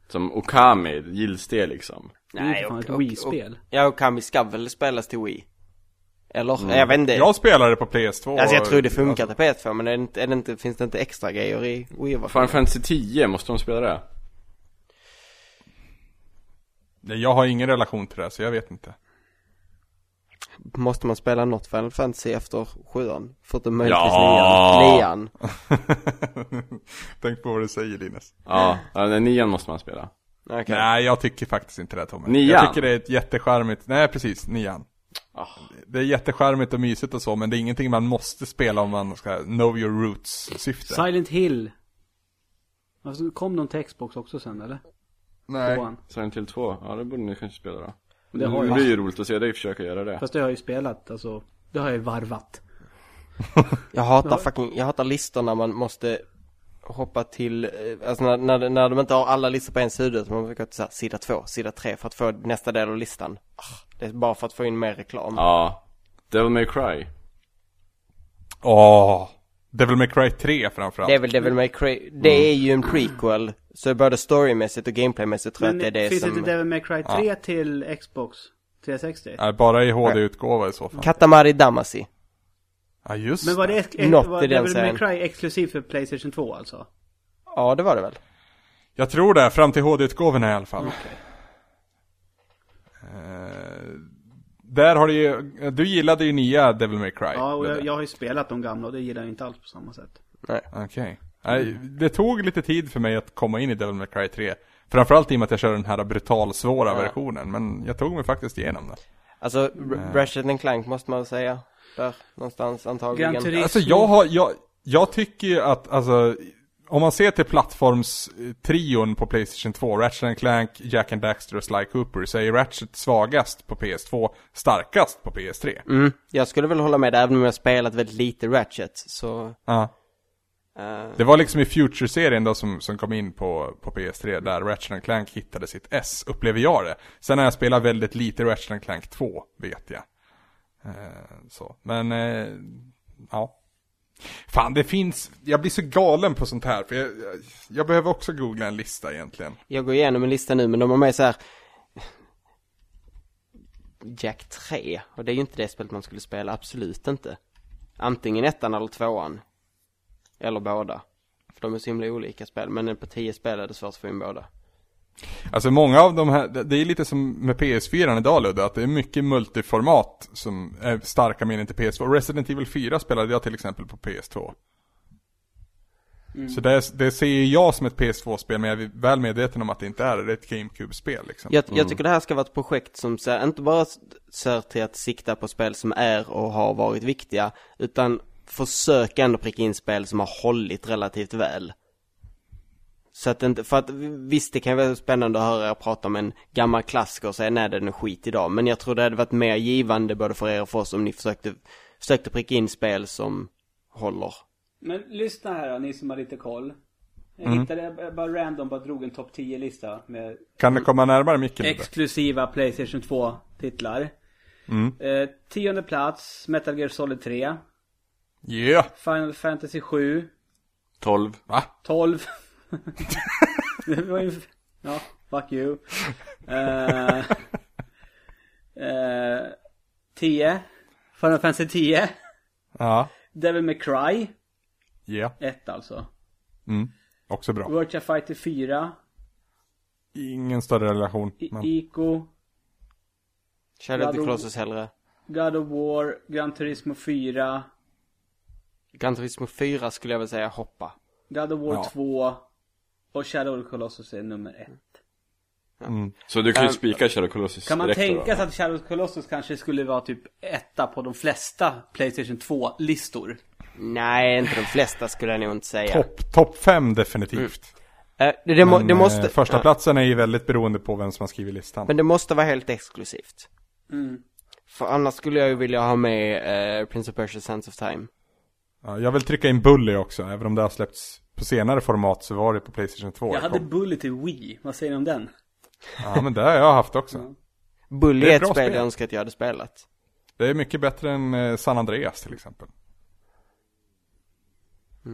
[SPEAKER 2] Som Okami, gills det liksom?
[SPEAKER 4] Det är ju fan ett Wii-spel.
[SPEAKER 3] Ja och Kami ska väl spelas till Wii? Eller? Jag vet inte.
[SPEAKER 1] Jag spelade på PS2.
[SPEAKER 3] Alltså jag tror det funkar till PS4 men är det inte, är det inte, finns det inte extra grejer i Wii?
[SPEAKER 2] Final Fantasy 10, måste de spela det?
[SPEAKER 1] Nej, Jag har ingen relation till det här, så jag vet inte.
[SPEAKER 3] Måste man spela något Final Fantasy efter sjuan? Förutom möjligtvis
[SPEAKER 2] Ja.
[SPEAKER 3] nian. Nian.
[SPEAKER 1] Tänk på vad du säger Linus.
[SPEAKER 2] Ja, ja den nian måste man spela.
[SPEAKER 3] Okej.
[SPEAKER 1] Nej, jag tycker faktiskt inte det Tommy.
[SPEAKER 2] Nian.
[SPEAKER 1] Jag tycker det är ett jättecharmigt, nej precis, nian.
[SPEAKER 2] Ah.
[SPEAKER 1] Det är jättecharmigt och mysigt och så, men det är ingenting man måste spela om man ska know your roots-syfte.
[SPEAKER 4] Silent Hill. Alltså, kom någon textbox också sen eller?
[SPEAKER 1] nej.
[SPEAKER 4] Tvåan.
[SPEAKER 2] Silent Hill 2, ja det borde ni kanske spela då. Mm.
[SPEAKER 4] Det
[SPEAKER 2] Det,
[SPEAKER 4] har jag.
[SPEAKER 2] blir ju roligt att se dig försöka göra det.
[SPEAKER 4] Fast det har jag ju spelat, alltså. Det har jag ju varvat.
[SPEAKER 3] Jag hatar fucking, jag hatar listor när man måste hoppa till, eh, alltså när, när, när de inte har alla listor på ens huvud, utan man brukar till så här, sida två, sida tre för att få nästa del av listan. Ah, Det är bara för att få in mer reklam.
[SPEAKER 2] Ja. Devil May Cry.
[SPEAKER 1] Åh! Devil May Cry 3 framförallt.
[SPEAKER 3] Det är väl Devil May Cry, det är ju en prequel, så både storymässigt och gameplaymässigt tror jag
[SPEAKER 4] Men
[SPEAKER 3] att det är det
[SPEAKER 4] finns
[SPEAKER 3] som...
[SPEAKER 4] inte Devil May Cry 3 till Xbox 360?
[SPEAKER 1] Nej, bara i HD-utgåva i så fall.
[SPEAKER 3] Katamari Damacy.
[SPEAKER 1] Ja, just
[SPEAKER 4] Men var det, ex-
[SPEAKER 3] Något
[SPEAKER 4] var
[SPEAKER 3] i den
[SPEAKER 4] Devil
[SPEAKER 3] serien.
[SPEAKER 4] May Cry exklusiv för Playstation 2 alltså?
[SPEAKER 3] Ja, det var det väl?
[SPEAKER 1] Jag tror det, fram till HD-utgåvorna i alla fall. Eh, där har du ju, du gillade ju nya Devil May Cry.
[SPEAKER 4] Ja, och
[SPEAKER 1] Ludde.
[SPEAKER 4] jag, jag har ju spelat de gamla och det gillar jag inte alls på samma sätt.
[SPEAKER 3] Nej.
[SPEAKER 1] Okej. Nej, Det tog lite tid för mig att komma in i Devil May Cry 3. Framförallt i och med att jag körde den här brutalsvåra versionen. Men jag tog mig faktiskt igenom det.
[SPEAKER 3] Alltså, R- Ratchet and Clank måste man väl säga. Där någonstans antagligen.
[SPEAKER 4] Gran Turismo.
[SPEAKER 1] Alltså jag har, jag, jag tycker ju att, alltså, om man ser till plattformstrion på Playstation 2, Ratchet and Clank, Jack and Daxter och Sly Cooper, så är ju Ratchet svagast på PS2, starkast på PS3.
[SPEAKER 3] Mm, jag skulle väl hålla med där, även om jag spelat väldigt lite Ratchet, så...
[SPEAKER 1] Ja.
[SPEAKER 3] eh,
[SPEAKER 1] Det var liksom i Future-serien då som, som kom in på, på PS3 där Ratchet and Clank hittade sitt S, upplever jag det. Sen har jag spelat väldigt lite Ratchet and Clank 2, vet jag. Eh, så, men eh, ja. Fan, det finns, jag blir så galen på sånt här, för jag, jag, jag behöver också googla en lista egentligen.
[SPEAKER 3] Jag går igenom en lista nu men de har med så här Jack 3 och det är ju inte det spelet man skulle spela, absolut inte. Antingen ettan eller tvåan. Eller båda. För de är så himla olika spel, men på 10 spel är det svårt att få in båda.
[SPEAKER 1] Alltså många av de här, det det är lite som med PS4 idag Ludde, att det är mycket multiformat som är starka minnen till PS2. Resident Evil 4 spelade jag till exempel på PS2.
[SPEAKER 3] Mm.
[SPEAKER 1] Så det, det ser ju jag som ett PS2-spel, men jag är väl medveten om att det inte är det, det är ett GameCube-spel liksom.
[SPEAKER 3] Jag, jag tycker det här ska vara ett projekt som så här, inte bara s- ser till att sikta på spel som är och har varit viktiga, utan försöka ändå pricka in spel som har hållit relativt väl. Så att det inte, för att visst det kan vara spännande att höra er prata om en gammal klassiker och säga nej den är skit idag, men jag tror det hade varit mer givande både för er och för oss om ni försökte, försökte pricka in spel som håller.
[SPEAKER 4] Men lyssna här då, ni som har lite koll. Jag
[SPEAKER 3] Mm.
[SPEAKER 4] hittade jag bara random, bara drog en topp 10-lista med
[SPEAKER 1] Kan det komma närmare micken Ludde?
[SPEAKER 4] exklusiva Playstation 2-titlar.
[SPEAKER 3] Mm.
[SPEAKER 4] Eh, tionde plats, Metal Gear Solid 3.
[SPEAKER 1] Ja! Yeah.
[SPEAKER 4] Final Fantasy 7.
[SPEAKER 2] 12.
[SPEAKER 1] Va?
[SPEAKER 4] 12. det var ju... Ja, fuck you. Eh, eh, 10. Final Fantasy 10.
[SPEAKER 1] Ja.
[SPEAKER 4] Devil May Cry.
[SPEAKER 1] Ja. Yeah.
[SPEAKER 4] 1 alltså.
[SPEAKER 1] Mm. Också bra.
[SPEAKER 4] Virtua Fighter 4.
[SPEAKER 1] Ingen större relation.
[SPEAKER 4] I-
[SPEAKER 1] Men...
[SPEAKER 4] Ico.
[SPEAKER 3] Shadow of the
[SPEAKER 4] Ja, då-
[SPEAKER 3] Colossus hellre.
[SPEAKER 4] God of War. Gran Turismo 4.
[SPEAKER 3] Gran Turismo 4 skulle jag väl säga hoppa.
[SPEAKER 4] God of War
[SPEAKER 1] Ja.
[SPEAKER 4] 2. Och Shadow of the Colossus är nummer 1.
[SPEAKER 2] Så du kan ju
[SPEAKER 3] Ehm,
[SPEAKER 2] spika Shadow Colossus
[SPEAKER 4] Kan man
[SPEAKER 2] direkt då,
[SPEAKER 4] tänka
[SPEAKER 2] då?
[SPEAKER 4] sig att Shadow of the Colossus kanske skulle vara typ etta på de flesta Playstation 2-listor?
[SPEAKER 3] Nej, inte de flesta skulle jag nog inte säga.
[SPEAKER 1] Topp top 5 definitivt.
[SPEAKER 3] Eh, det, det, må,
[SPEAKER 1] Men,
[SPEAKER 3] det måste...
[SPEAKER 1] eh, första
[SPEAKER 3] ja.
[SPEAKER 1] platsen är ju väldigt beroende på vem som har skrivit listan.
[SPEAKER 3] Men det måste vara helt exklusivt. För annars skulle jag ju vilja ha med eh, Prince of Persia Sense of Time.
[SPEAKER 1] Ja, jag vill trycka in Bully också, även om det har släppts på senare format så var det på Playstation 2.
[SPEAKER 4] Jag
[SPEAKER 1] det
[SPEAKER 4] hade
[SPEAKER 1] kom.
[SPEAKER 4] Bullet till Wii, vad säger ni om den?
[SPEAKER 1] Ja, men det har jag haft också.
[SPEAKER 3] Bully
[SPEAKER 1] Det är
[SPEAKER 3] är
[SPEAKER 1] ett
[SPEAKER 3] ett
[SPEAKER 1] bra
[SPEAKER 3] spel jag
[SPEAKER 1] spel.
[SPEAKER 3] önskar att jag hade spelat.
[SPEAKER 1] Det är mycket bättre än eh, San Andreas till exempel.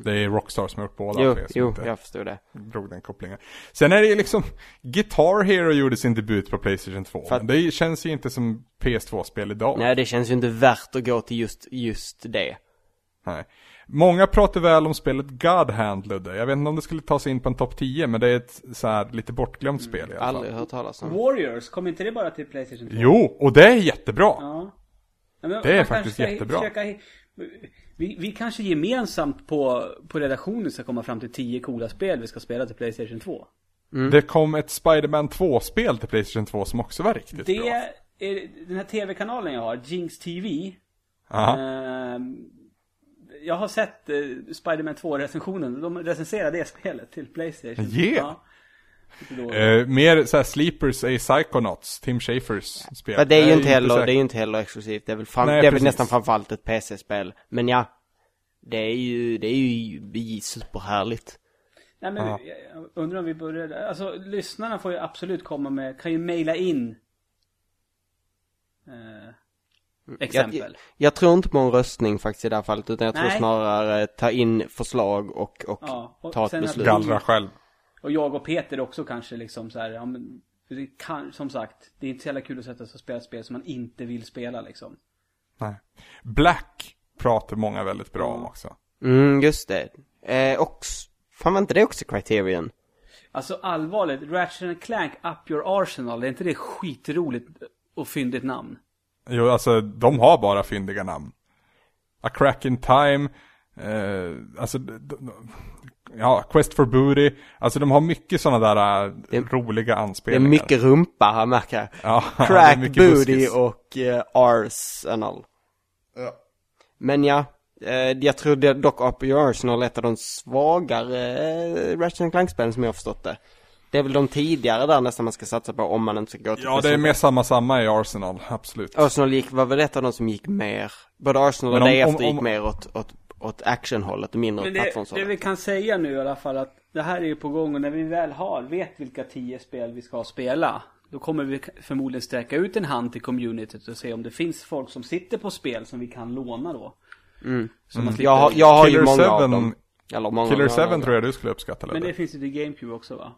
[SPEAKER 1] Det är Rockstar som har gjort båda.
[SPEAKER 3] Mm. Jo,
[SPEAKER 1] för er som
[SPEAKER 3] jo,
[SPEAKER 1] inte
[SPEAKER 3] jag förstod det.
[SPEAKER 1] drog den kopplingen. Sen är det ju liksom, Guitar Hero gjorde sin debut på Playstation 2.
[SPEAKER 3] För att-
[SPEAKER 1] Men det känns ju inte som PS2-spel idag.
[SPEAKER 3] Nej, det känns ju inte värt att gå till just, just det.
[SPEAKER 1] Nej. Många pratar väl om spelet God Hand, Ludde. Jag vet inte om det skulle ta sig in på en topp 10, men det är ett så här lite bortglömt
[SPEAKER 3] Mm.
[SPEAKER 1] spel i alla fall.
[SPEAKER 3] Aldrig hört talas om.
[SPEAKER 4] Warriors, kom inte det bara till Playstation 2?
[SPEAKER 1] Jo, och det är jättebra.
[SPEAKER 4] Ja. Ja, men man
[SPEAKER 1] är
[SPEAKER 4] kanske
[SPEAKER 1] faktiskt
[SPEAKER 4] ska
[SPEAKER 1] jättebra.
[SPEAKER 4] försöka- vi, vi kanske gemensamt på, på redaktionen ska komma fram till 10 coola spel vi ska spela till Playstation 2.
[SPEAKER 1] Det kom ett Spider-Man 2-spel till Playstation 2 som också var riktigt
[SPEAKER 4] Det
[SPEAKER 1] bra.
[SPEAKER 4] är den här tv-kanalen jag har, Jinx TV.
[SPEAKER 1] Aha.
[SPEAKER 4] Ehm, jag har sett eh, Spider-Man 2-recensionen. De recenserar det spelet till Playstation.
[SPEAKER 1] Yeah.
[SPEAKER 4] Lite då.
[SPEAKER 1] Eh, mer såhär sleepers är ju Psychonauts, Tim Schafers spel.
[SPEAKER 3] Men det
[SPEAKER 1] Jag
[SPEAKER 3] är ju inte heller,
[SPEAKER 1] säker.
[SPEAKER 3] det är ju inte heller exklusivt. Det är väl, fram,
[SPEAKER 1] Nej,
[SPEAKER 3] det är väl
[SPEAKER 1] precis.
[SPEAKER 3] nästan framförallt ett PC-spel. Men ja. Det är ju, det är ju superhärligt.
[SPEAKER 4] Nej, men jag jag undrar om vi börjar Alltså lyssnarna får ju absolut komma med, kan ju mejla in. Eh, exempel.
[SPEAKER 3] Jag, jag tror inte på en röstning faktiskt i det här fallet, utan jag tror
[SPEAKER 4] Nej.
[SPEAKER 3] snarare ta in förslag och, och
[SPEAKER 4] Ja, och
[SPEAKER 3] ta ett
[SPEAKER 4] sen att-
[SPEAKER 3] beslut.
[SPEAKER 1] Gallra själv.
[SPEAKER 4] Och jag och Peter också kanske liksom så här, ja, men, för det kan, som sagt, det är inte så jävla kul att sätta sig och spela ett spel som man inte vill spela liksom.
[SPEAKER 1] Nej. Black pratar många väldigt bra om också.
[SPEAKER 3] Mm, just det. Eh, och, s- fan var inte det också Criterion?
[SPEAKER 4] Alltså allvarligt, Ratchet and Clank Up Your Arsenal, är inte det skitroligt och fyndigt namn?
[SPEAKER 1] Jo, alltså de har bara fyndiga namn. A Crack In Time, eh, alltså, d- d- ja, Quest For Booty. Alltså de har mycket sådana där eh, roliga
[SPEAKER 3] Det är
[SPEAKER 1] anspelningar.
[SPEAKER 3] mycket rumpa här märker jag.
[SPEAKER 1] Ja, det är
[SPEAKER 3] Crack,
[SPEAKER 1] mycket
[SPEAKER 3] booty
[SPEAKER 1] buskis.
[SPEAKER 3] och eh, arsenal. Men ja, eh, jag tror det dock Up Your Arsenal är ett av de svagare eh, Ratchet Clank-spelen som jag har förstått det. Det är väl de tidigare där nästan man ska satsa på om man inte ska gå till
[SPEAKER 1] Ja, det är mer samma samma i Arsenal, absolut.
[SPEAKER 3] Arsenal gick, var väl ett av de som gick mer, både Arsenal och
[SPEAKER 1] Men om-
[SPEAKER 3] därefter
[SPEAKER 1] om-
[SPEAKER 3] gick
[SPEAKER 1] om-
[SPEAKER 3] mer åt, åt, åt actionhållet och mindre
[SPEAKER 4] Men
[SPEAKER 3] åt
[SPEAKER 4] det, det
[SPEAKER 3] plattformshållet.
[SPEAKER 4] vi kan säga nu i alla fall att det här är ju på gång och när vi väl har, vet vilka tio spel vi ska spela. Då kommer vi k- förmodligen sträcka ut en hand till communityt och se om det finns folk som sitter på spel som vi kan låna då.
[SPEAKER 2] Mm.
[SPEAKER 4] Så man slipper-
[SPEAKER 3] Jag har, jag har ju
[SPEAKER 1] Killer
[SPEAKER 3] många av
[SPEAKER 1] Seven-
[SPEAKER 3] dem. Eller många
[SPEAKER 1] Killer
[SPEAKER 3] av dem.
[SPEAKER 1] 7 tror jag du skulle uppskatta
[SPEAKER 4] Men
[SPEAKER 1] Ludde.
[SPEAKER 4] det finns ju till GameCube också va?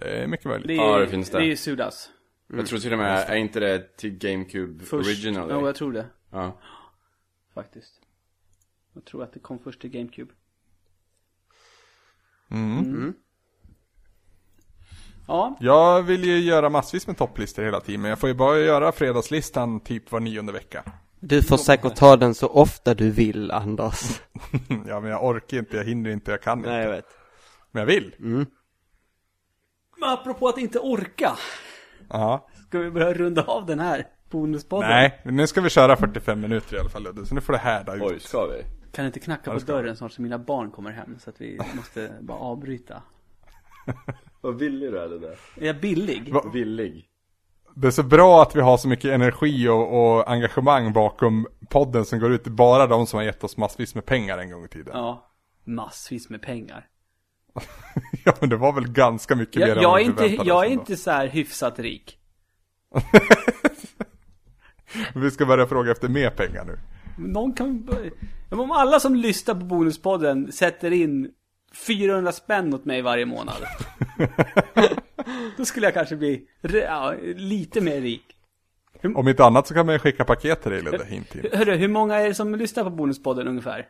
[SPEAKER 1] Det är mycket möjligt.
[SPEAKER 4] är,
[SPEAKER 2] Ja, det finns det.
[SPEAKER 4] Det är ju Sudas.
[SPEAKER 2] Jag tror till och med, är inte det till GameCube
[SPEAKER 4] Först.
[SPEAKER 2] Original?
[SPEAKER 4] Ja, jag tror det.
[SPEAKER 2] Ja.
[SPEAKER 4] Faktiskt. Jag tror att det kom först till GameCube.
[SPEAKER 2] Mm.
[SPEAKER 4] Ja,
[SPEAKER 1] Jag vill ju göra massvis med topplistor hela tiden, men jag får ju bara göra fredagslistan typ var nionde vecka.
[SPEAKER 3] Du får säkert ta den så ofta du vill, Anders.
[SPEAKER 1] ja, men jag orkar inte, jag hinner inte, jag kan inte.
[SPEAKER 3] Nej, jag vet.
[SPEAKER 1] Men jag vill.
[SPEAKER 4] men apropå att inte orka.
[SPEAKER 1] Ja.
[SPEAKER 4] Ska vi börja runda av den här bonuspodden?
[SPEAKER 1] Nej, men nu ska vi köra 45 minuter i alla fall Ludde, så nu får det härda ut.
[SPEAKER 2] Oj, ska vi?
[SPEAKER 4] Kan inte knacka på dörren snart så mina barn kommer hem så att vi måste bara avbryta.
[SPEAKER 2] Vad villig du är det där.
[SPEAKER 4] Är jag billig?
[SPEAKER 1] Va?
[SPEAKER 2] Villig.
[SPEAKER 1] Det är så bra att vi har så mycket energi och, och engagemang bakom podden som går ut till bara de som har gett oss massvis med pengar en gång i tiden. Ja,
[SPEAKER 4] Ja. Massvis med pengar.
[SPEAKER 1] men det var väl ganska mycket mer
[SPEAKER 4] Jag,
[SPEAKER 1] än vad
[SPEAKER 4] jag, är,
[SPEAKER 1] vi
[SPEAKER 4] inte,
[SPEAKER 1] förväntade
[SPEAKER 4] jag
[SPEAKER 1] oss
[SPEAKER 4] är
[SPEAKER 1] ändå.
[SPEAKER 4] inte så här hyfsat rik.
[SPEAKER 1] Vi ska börja fråga efter mer pengar nu.
[SPEAKER 4] Någon kan börja- Men Om alla som lyssnar på bonuspodden sätter in 400 spänn åt mig varje månad. Då skulle jag kanske bli re- ja, lite mer rik.
[SPEAKER 1] Om inte annat så kan man ju skicka paket till dig Ludde, hint hint.
[SPEAKER 4] Hörru, hur många är det som lyssnar på bonuspodden ungefär?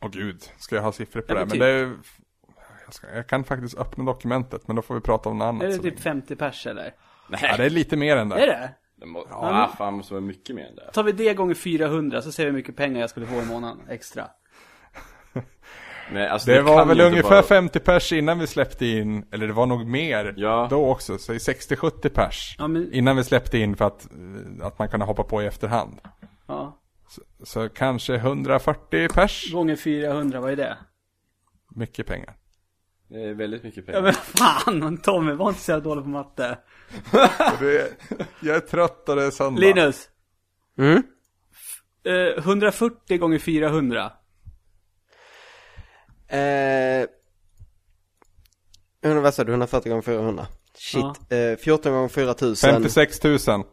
[SPEAKER 1] Åh gud, ska jag ha siffror på
[SPEAKER 4] Ja,
[SPEAKER 1] det här?
[SPEAKER 4] men typ.
[SPEAKER 1] Men det är... jag, ska... jag kan faktiskt öppna dokumentet, men då får vi prata om något annat.
[SPEAKER 4] Är det
[SPEAKER 1] så
[SPEAKER 4] typ
[SPEAKER 1] länge.
[SPEAKER 4] 50 pers eller?
[SPEAKER 1] Ja, det är lite mer än det.
[SPEAKER 4] Är det?
[SPEAKER 2] Det må... Ja, fan måste vara mycket mer än det.
[SPEAKER 4] Tar vi det gånger 400 så ser vi hur mycket pengar jag skulle få i månaden extra.
[SPEAKER 2] Nej, alltså,
[SPEAKER 1] Det,
[SPEAKER 2] det
[SPEAKER 1] var
[SPEAKER 2] kan
[SPEAKER 1] väl
[SPEAKER 2] ju inte
[SPEAKER 1] ungefär
[SPEAKER 2] vara-
[SPEAKER 1] 50 pers innan vi släppte in, eller det var nog mer
[SPEAKER 2] Ja.
[SPEAKER 1] då också, så i 60-70 pers
[SPEAKER 4] Ja, men-
[SPEAKER 1] innan vi släppte in för att, eh, att man kunde hoppa på i efterhand.
[SPEAKER 4] Ja.
[SPEAKER 1] Så kanske 140 pers,
[SPEAKER 4] Gånger 400, vad är det?
[SPEAKER 1] mycket pengar.
[SPEAKER 2] Det är väldigt mycket pengar.
[SPEAKER 4] Ja men fan, Tommy var inte så jävla dålig på matte.
[SPEAKER 1] Det, jag är trött och det är söndag.
[SPEAKER 4] Linus,
[SPEAKER 3] Mm?
[SPEAKER 4] eh, 140 gånger 400.
[SPEAKER 3] Eh, undrar vad sa du? 140 gånger 400? Shit. Eh, 14 gånger 4000.
[SPEAKER 1] 56 000
[SPEAKER 3] Jaha.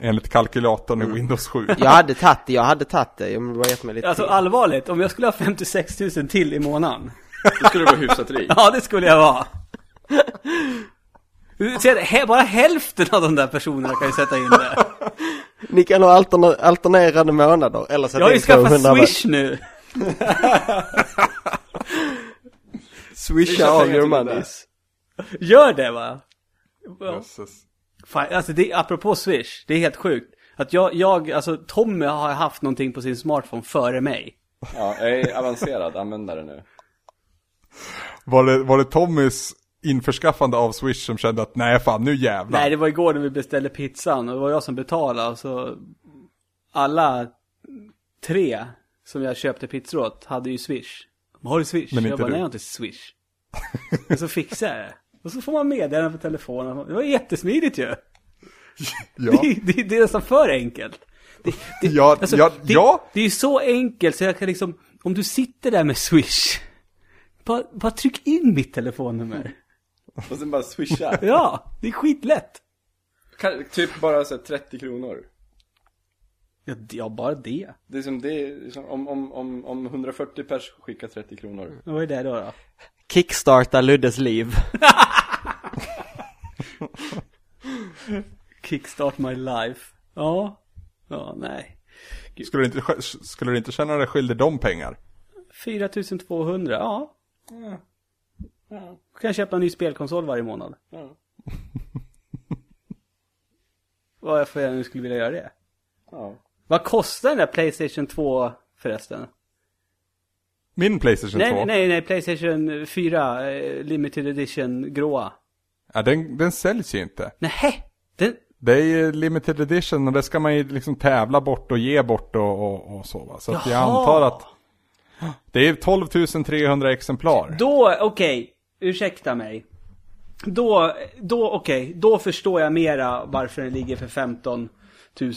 [SPEAKER 1] enligt kalkylatorn i Windows 7.
[SPEAKER 3] Jag hade tagit det, jag hade tagit det. Jag bara gett mig lite
[SPEAKER 4] Alltså
[SPEAKER 3] tid.
[SPEAKER 4] allvarligt, om jag skulle ha 56 000 till i månaden.
[SPEAKER 2] Då skulle du vara hyfsat rik.
[SPEAKER 4] Ja, det skulle jag vara. Du ser, he- bara hälften av de där personerna kan ju sätta in det.
[SPEAKER 3] Ni kan ha alterna- alternerande månader, eller
[SPEAKER 4] Jag har
[SPEAKER 3] sätta
[SPEAKER 4] ju
[SPEAKER 3] in 200
[SPEAKER 4] skaffat
[SPEAKER 3] va-
[SPEAKER 4] Swish nu.
[SPEAKER 3] Swisha
[SPEAKER 2] Swisha
[SPEAKER 3] all
[SPEAKER 2] pengar
[SPEAKER 3] your
[SPEAKER 2] till det
[SPEAKER 3] monies.
[SPEAKER 4] Gör det va? Ja.
[SPEAKER 1] Jösses.
[SPEAKER 4] Fan, alltså det, apropå Swish, det är helt sjukt. Att jag, jag, alltså Tommy har haft någonting på sin smartphone före mig.
[SPEAKER 2] Ja, jag är avancerad användare nu.
[SPEAKER 1] Var det, var det Tommys införskaffande av Swish som kände att nej fan nu jävlar.
[SPEAKER 4] Nej, det var igår när vi beställde pizzan och det var jag som betalade och så alla tre som jag köpte pizzor åt hade ju Swish. Men Har du Swish?
[SPEAKER 1] Men
[SPEAKER 4] jag
[SPEAKER 1] inte
[SPEAKER 4] bara,
[SPEAKER 1] du.
[SPEAKER 4] nej jag har inte Swish. och så fixade jag det. Och så får man meddelanden på telefonen. Det var jättesmidigt ju.
[SPEAKER 1] ja.
[SPEAKER 4] Det, det, det är nästan för enkelt. Det, det, alltså,
[SPEAKER 1] Ja, ja,
[SPEAKER 4] det,
[SPEAKER 1] ja.
[SPEAKER 4] det är ju så enkelt så jag kan liksom, om du sitter där med Swish, bara, bara tryck in mitt telefonnummer.
[SPEAKER 2] Och sen bara swisha.
[SPEAKER 4] Ja, det är skitlätt.
[SPEAKER 2] Kan, typ bara så här 30 kronor.
[SPEAKER 4] Ja, det- ja bara det.
[SPEAKER 2] Det är som det, är som om, om, om, om 140 pers skickar 30 kronor.
[SPEAKER 4] Vad är det då? då?
[SPEAKER 3] Kickstarta Luddes liv.
[SPEAKER 4] Kickstart my life. Ja. Ja, nej.
[SPEAKER 1] Skulle, du inte, sk- skulle du inte känna dig skyldig dem pengar?
[SPEAKER 4] 4200, ja.
[SPEAKER 2] Ja,
[SPEAKER 4] Kan jag köpa en ny spelkonsol varje månad.
[SPEAKER 2] ja,
[SPEAKER 4] Varför jag nu skulle vilja göra det.
[SPEAKER 2] ja.
[SPEAKER 4] Vad kostar den där Playstation 2 förresten?
[SPEAKER 1] Min Playstation
[SPEAKER 4] Nej,
[SPEAKER 1] 2?
[SPEAKER 4] nej, nej, nej, Playstation 4 eh, Limited Edition gråa.
[SPEAKER 1] Ja, den, den säljs ju inte.
[SPEAKER 4] Nej, den...
[SPEAKER 1] Det är ju limited edition och det ska man ju liksom tävla bort och ge bort och, och, och så va. Så att jag
[SPEAKER 4] Jaha.
[SPEAKER 1] antar att det är 12 300 exemplar.
[SPEAKER 4] Då, okej, ursäkta mig. Då, då okej, då förstår jag mera varför den ligger för 15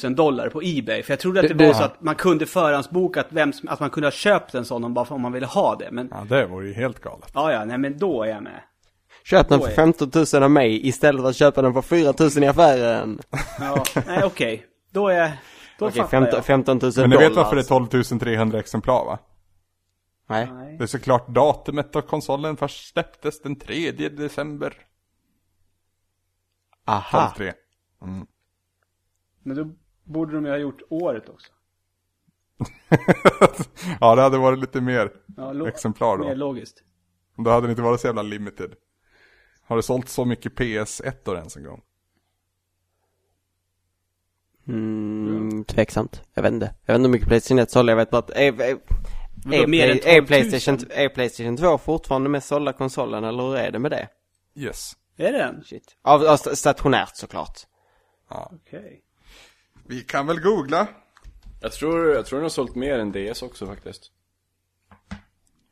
[SPEAKER 4] 000 dollar på Ebay. För jag trodde att det,
[SPEAKER 3] Det- det-
[SPEAKER 4] var så att man kunde förhandsboka att, vem, som- att man kunde ha köpt en sån om, bara för, om man ville ha det. Men ja,
[SPEAKER 1] Ja, det vore ju helt galet.
[SPEAKER 4] ja, nej men då är jag med.
[SPEAKER 3] Köp den
[SPEAKER 4] Då
[SPEAKER 3] för
[SPEAKER 4] är-
[SPEAKER 3] 15 000 av mig istället för att köpa den för 4 000 i affären.
[SPEAKER 4] Ja, nej okej, då är då
[SPEAKER 3] Okej,
[SPEAKER 4] fattar
[SPEAKER 3] 15,
[SPEAKER 4] jag.
[SPEAKER 3] 15 000 dollar.
[SPEAKER 1] Men ni vet
[SPEAKER 4] alltså.
[SPEAKER 1] varför det är 12 300 exemplar va?
[SPEAKER 3] Nej.
[SPEAKER 4] Nej.
[SPEAKER 1] Det är såklart datumet då konsolen först släpptes den 3 december.
[SPEAKER 3] Aha.
[SPEAKER 1] 12 Mm.
[SPEAKER 4] Men då borde de ju ha gjort året också.
[SPEAKER 1] ja, det hade varit lite mer
[SPEAKER 4] Ja, lo-
[SPEAKER 1] exemplar
[SPEAKER 4] Mer
[SPEAKER 1] då.
[SPEAKER 4] logiskt.
[SPEAKER 1] Då hade det inte varit så jävla limited. Har det sålt så mycket PS1 då ens en gång?
[SPEAKER 3] Mm, tveksamt. Jag vet inte. Jag vet inte hur mycket Playstation 1 sålde. Jag vet bara att... Är, är,
[SPEAKER 4] Vadå,
[SPEAKER 3] är,
[SPEAKER 4] mer än
[SPEAKER 3] Play-
[SPEAKER 4] 12
[SPEAKER 3] är,
[SPEAKER 4] 000?
[SPEAKER 3] Playstation, är Playstation 2 fortfarande mest sålda konsolen eller hur är det med det?
[SPEAKER 1] Yes.
[SPEAKER 4] Är det den?
[SPEAKER 3] Shit. Av, av sta- stationärt såklart.
[SPEAKER 4] Okej.
[SPEAKER 1] Vi kan väl googla.
[SPEAKER 2] Jag tror, jag tror den har sålt mer än DS också faktiskt.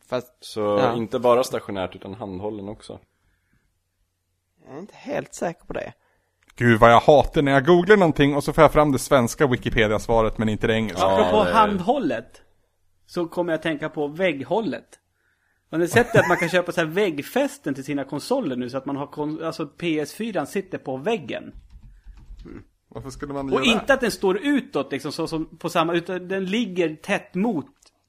[SPEAKER 3] Fast
[SPEAKER 2] Så
[SPEAKER 3] Ja.
[SPEAKER 2] inte bara stationärt utan handhållen också.
[SPEAKER 3] jag är inte helt säker på det.
[SPEAKER 1] Gud vad jag hatar när jag googlar någonting och så får jag fram det svenska Wikipedia-svaret men inte det engelska.
[SPEAKER 4] Apropå
[SPEAKER 2] det är-
[SPEAKER 4] handhållet så kommer jag att tänka på vägghållet. Har ni sett det att man kan köpa så här väggfästen till sina konsoler nu så att man har kon- alltså PS4 sitter på väggen?
[SPEAKER 1] Varför skulle man
[SPEAKER 4] Och
[SPEAKER 1] göra
[SPEAKER 4] inte att den står utåt liksom så som på samma utan den ligger tätt mot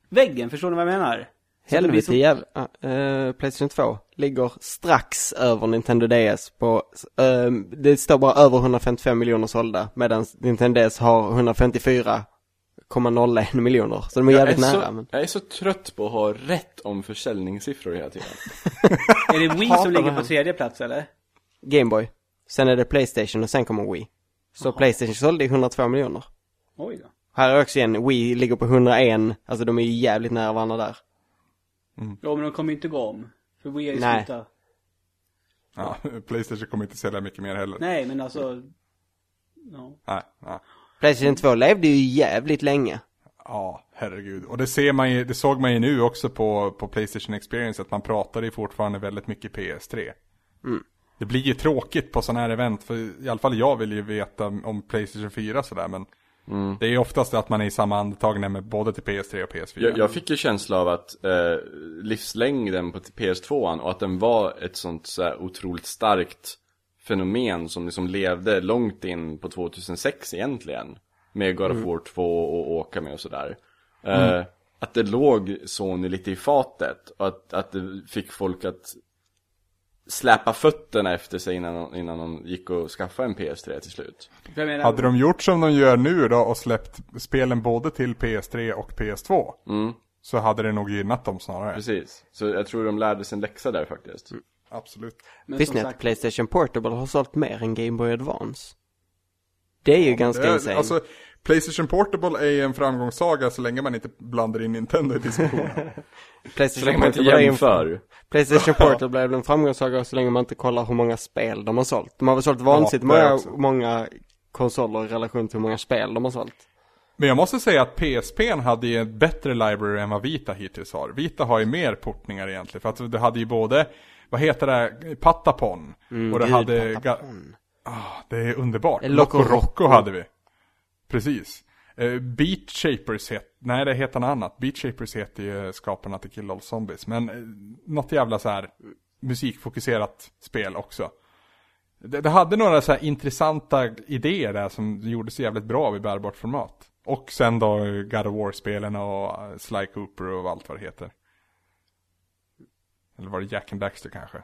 [SPEAKER 4] väggen, förstår ni vad jag menar? Så att liksom- det blir
[SPEAKER 3] Helvete
[SPEAKER 4] som-
[SPEAKER 3] jävla... ah, eh, Playstation 2 ligger strax över Nintendo DS på... eh, det står bara över 155 miljoner sålda medan Nintendo DS har 154,01 miljoner. Så de är jävligt
[SPEAKER 2] jag, är
[SPEAKER 3] nära.
[SPEAKER 2] så,
[SPEAKER 3] Men...
[SPEAKER 2] jag är så trött på att ha rätt om försäljningssiffror hela tiden.
[SPEAKER 4] Är det Wii
[SPEAKER 3] Hatar
[SPEAKER 4] som ligger
[SPEAKER 3] det här.
[SPEAKER 4] på tredje plats eller?
[SPEAKER 3] Gameboy. Sen är det Playstation och sen kommer Wii. Så Playstation sålde i 102 miljoner.
[SPEAKER 4] Oj då.
[SPEAKER 3] Här är också igen, Wii ligger på 101, alltså de är ju jävligt nära varandra där.
[SPEAKER 4] Ja men de kommer ju inte gå om. För Wii är ju
[SPEAKER 3] Nej.
[SPEAKER 4] slutat.
[SPEAKER 1] Ja, Playstation kommer inte sälja mycket mer heller. Nej.
[SPEAKER 4] Nej men alltså. Ja.
[SPEAKER 1] Nej, nej.
[SPEAKER 3] Playstation 2 levde ju jävligt länge.
[SPEAKER 1] Ja, herregud. Och det ser man ju, det såg man ju nu också på, på Playstation Experience att man pratade ju fortfarande väldigt mycket PS3. Det blir ju tråkigt på sådana här event, för i alla fall jag vill ju veta om Playstation 4 sådär, men det är ju oftast att man är i samma andetag nämner både till PS3 och PS4.
[SPEAKER 2] Jag, jag fick ju känsla av att eh, livslängden på PS2 och att den var ett sånt så här otroligt starkt fenomen som liksom levde långt in på 2006 egentligen. Med God of War 2 och åka med och sådär. Eh, Att det låg Sony lite i fatet och att, att det fick folk att släpa fötterna efter sig innan, de- innan de gick och skaffade en PS3 till slut.
[SPEAKER 4] Jag menar,
[SPEAKER 1] Hade de gjort som de gör nu då och släppt spelen både till PS3 och PS2 så hade det nog gynnat dem snarare.
[SPEAKER 2] Precis. Så jag tror de lärde sig en läxa där faktiskt.
[SPEAKER 1] Absolut.
[SPEAKER 4] men
[SPEAKER 3] Visste
[SPEAKER 4] som
[SPEAKER 3] ni att
[SPEAKER 4] sagt,
[SPEAKER 3] Playstation Portable har sålt mer än Game Boy Advance? Det är ju ganska
[SPEAKER 1] Det-
[SPEAKER 3] insane.
[SPEAKER 1] Alltså, Playstation Portable är ju en framgångssaga så länge man inte blandar in Nintendo i diskussionen.
[SPEAKER 2] Så
[SPEAKER 3] Playstation
[SPEAKER 2] länge man inte
[SPEAKER 3] är ju en-
[SPEAKER 2] jämför.
[SPEAKER 3] Playstation Portal blev en framgångssaga så länge man inte kollar hur många spel de har sålt. De har väl sålt vansinnigt
[SPEAKER 1] Ja, det
[SPEAKER 3] många,
[SPEAKER 1] också.
[SPEAKER 3] många konsoler i relation till hur många spel de har sålt.
[SPEAKER 1] Men jag måste säga att PSP'n hade ju en bättre library än vad Vita hittills har. Vita har ju mer portningar egentligen. För att du hade ju både, vad heter det, Patapon. och det
[SPEAKER 3] Gud,
[SPEAKER 1] hade...
[SPEAKER 3] Patapon.
[SPEAKER 1] Ah, det är underbart.
[SPEAKER 3] Eh, Loco
[SPEAKER 1] Loco Rocco
[SPEAKER 3] Roco.
[SPEAKER 1] hade vi. Precis. Eh, Beat Shapers heter, nej det heter något annat. Beat Shapers heter ju skaparna till Kill All Zombies. Men eh, något jävla så här musikfokuserat spel också. Det, det hade några så här intressanta idéer där som gjordes jävligt bra i bärbart format. Och sen då God of War-spelen och eh, Sly Cooper och allt vad det heter. Eller var det Jack and Daxter kanske?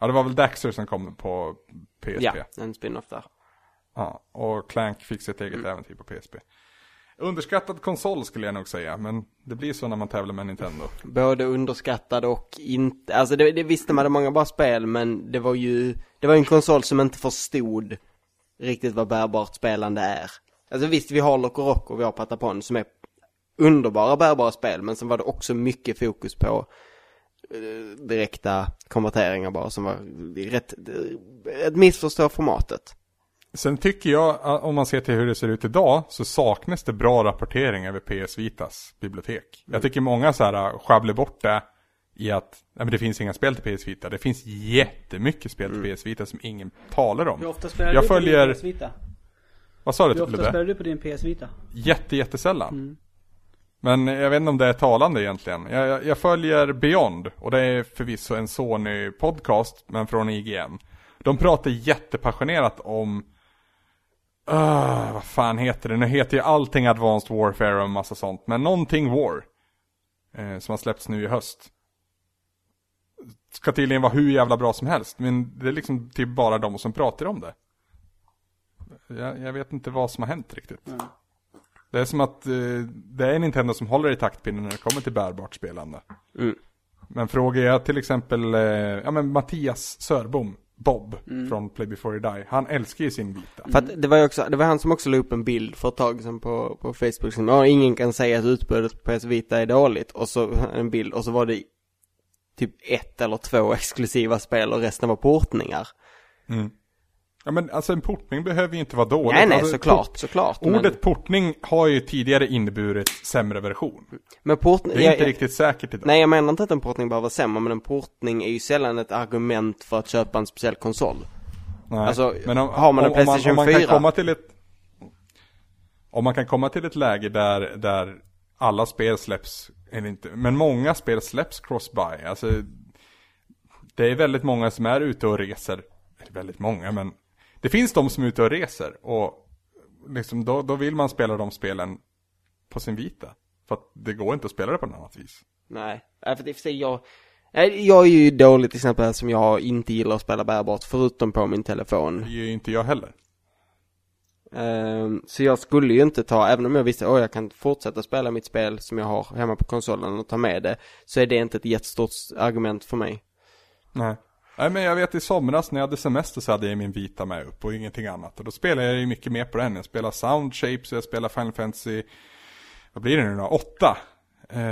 [SPEAKER 1] Ja, det var väl Daxter som kom på PSP.
[SPEAKER 3] Ja, en spin-off där.
[SPEAKER 1] Ja, och Clank fick sitt eget äventyr på PSP. Underskattad konsol skulle jag nog säga, men det blir så när man tävlar med Nintendo.
[SPEAKER 3] Både underskattad och inte, alltså det, det visste man hade många bra spel men det var ju, det var ju en konsol som inte förstod riktigt vad bärbart spelande är. Alltså visst, vi har Loco Rock och vi har Patapon som är underbara bärbara spel men sen var det också mycket fokus på eh, direkta konverteringar bara som var rätt, eh, ett missförstå formatet.
[SPEAKER 1] Sen tycker jag, a- om man ser till hur det ser ut idag, så saknas det bra rapportering över PS Vitas bibliotek.
[SPEAKER 4] Mm.
[SPEAKER 1] Jag tycker många så här äh, sjabblar bort det i att, nej men det finns inga spel till PS Vita. Det finns jättemycket spel till PS Vita som ingen talar om.
[SPEAKER 4] Mm. Hur ofta spelar
[SPEAKER 1] jag
[SPEAKER 4] du på
[SPEAKER 1] följer,
[SPEAKER 4] din PS Vita?
[SPEAKER 1] vad sa
[SPEAKER 4] Hur
[SPEAKER 1] du
[SPEAKER 4] ofta
[SPEAKER 1] Lubbe?
[SPEAKER 4] spelar Mm. du på din PS Vita?
[SPEAKER 1] Jätte, jättesällan. Men jag vet inte om det är talande egentligen. Jag, jag, jag följer Beyond och det är förvisso en Sony-podcast, men från IGN. De pratar jättepassionerat om, Ah, vad fan heter det? Nu heter ju allting Advanced Warfare och massa sånt, men någonting War. Eh, som har släppts nu i höst. Ska tydligen vara hur jävla bra som helst, men det är liksom typ bara de som pratar om det. Jag, jag vet inte vad som har hänt riktigt. Det är som att eh, det är Nintendo som håller i taktpinnen när det kommer till bärbart spelande. Men frågar jag till exempel eh, ja, men Mattias Sörbom, Bob från Play Before You Die. Han älskar ju sin vita.
[SPEAKER 3] För att det var ju också, det var han som också la upp en bild för ett tag sedan på, på Facebook som, ja ingen kan säga att utbudet på PS Vita är dåligt och så en bild och så var det typ ett eller två exklusiva spel och resten var portningar.
[SPEAKER 1] Ja men alltså en portning behöver ju inte vara dålig.
[SPEAKER 3] nej nej
[SPEAKER 1] alltså,
[SPEAKER 3] såklart,
[SPEAKER 1] port-
[SPEAKER 3] såklart.
[SPEAKER 1] Ordet
[SPEAKER 3] Men,
[SPEAKER 1] portning har ju tidigare inneburit sämre version.
[SPEAKER 3] men portning,
[SPEAKER 1] Det är inte riktigt säkert idag.
[SPEAKER 3] nej jag menar inte att en portning behöver vara sämre men en portning är ju sällan ett argument för att köpa en speciell konsol.
[SPEAKER 1] Nej.
[SPEAKER 3] alltså, har man en PlayStation
[SPEAKER 1] om man, om man
[SPEAKER 3] 4?
[SPEAKER 1] Kan komma till ett, om man kan komma till ett läge där, där alla spel släpps, eller inte, men många spel släpps cross-buy. Alltså, det är väldigt många som är ute och reser. Eller väldigt många, men det finns de som är ute och reser. Och liksom, då, då vill man spela de spelen på sin vita. För att det går inte att spela det på något annat vis.
[SPEAKER 3] Nej, nej, för det är för sig jag... Nej, jag är ju dålig till exempel som jag inte gillar att spela bärbart förutom på min telefon.
[SPEAKER 1] Det är ju inte jag heller.
[SPEAKER 3] Ehm, så jag skulle ju inte ta, även om jag visste att jag kan fortsätta spela mitt spel som jag har hemma på konsolen och ta med det, så är det inte ett jättestort argument för mig.
[SPEAKER 1] Nej. Nej men jag vet i somras när jag hade semester så hade jag min vita med upp och ingenting annat. Och då spelade jag ju mycket mer på den. Jag spelade Sound Shapes, jag spelade Final Fantasy, vad blir det nu då? Åtta. Eh,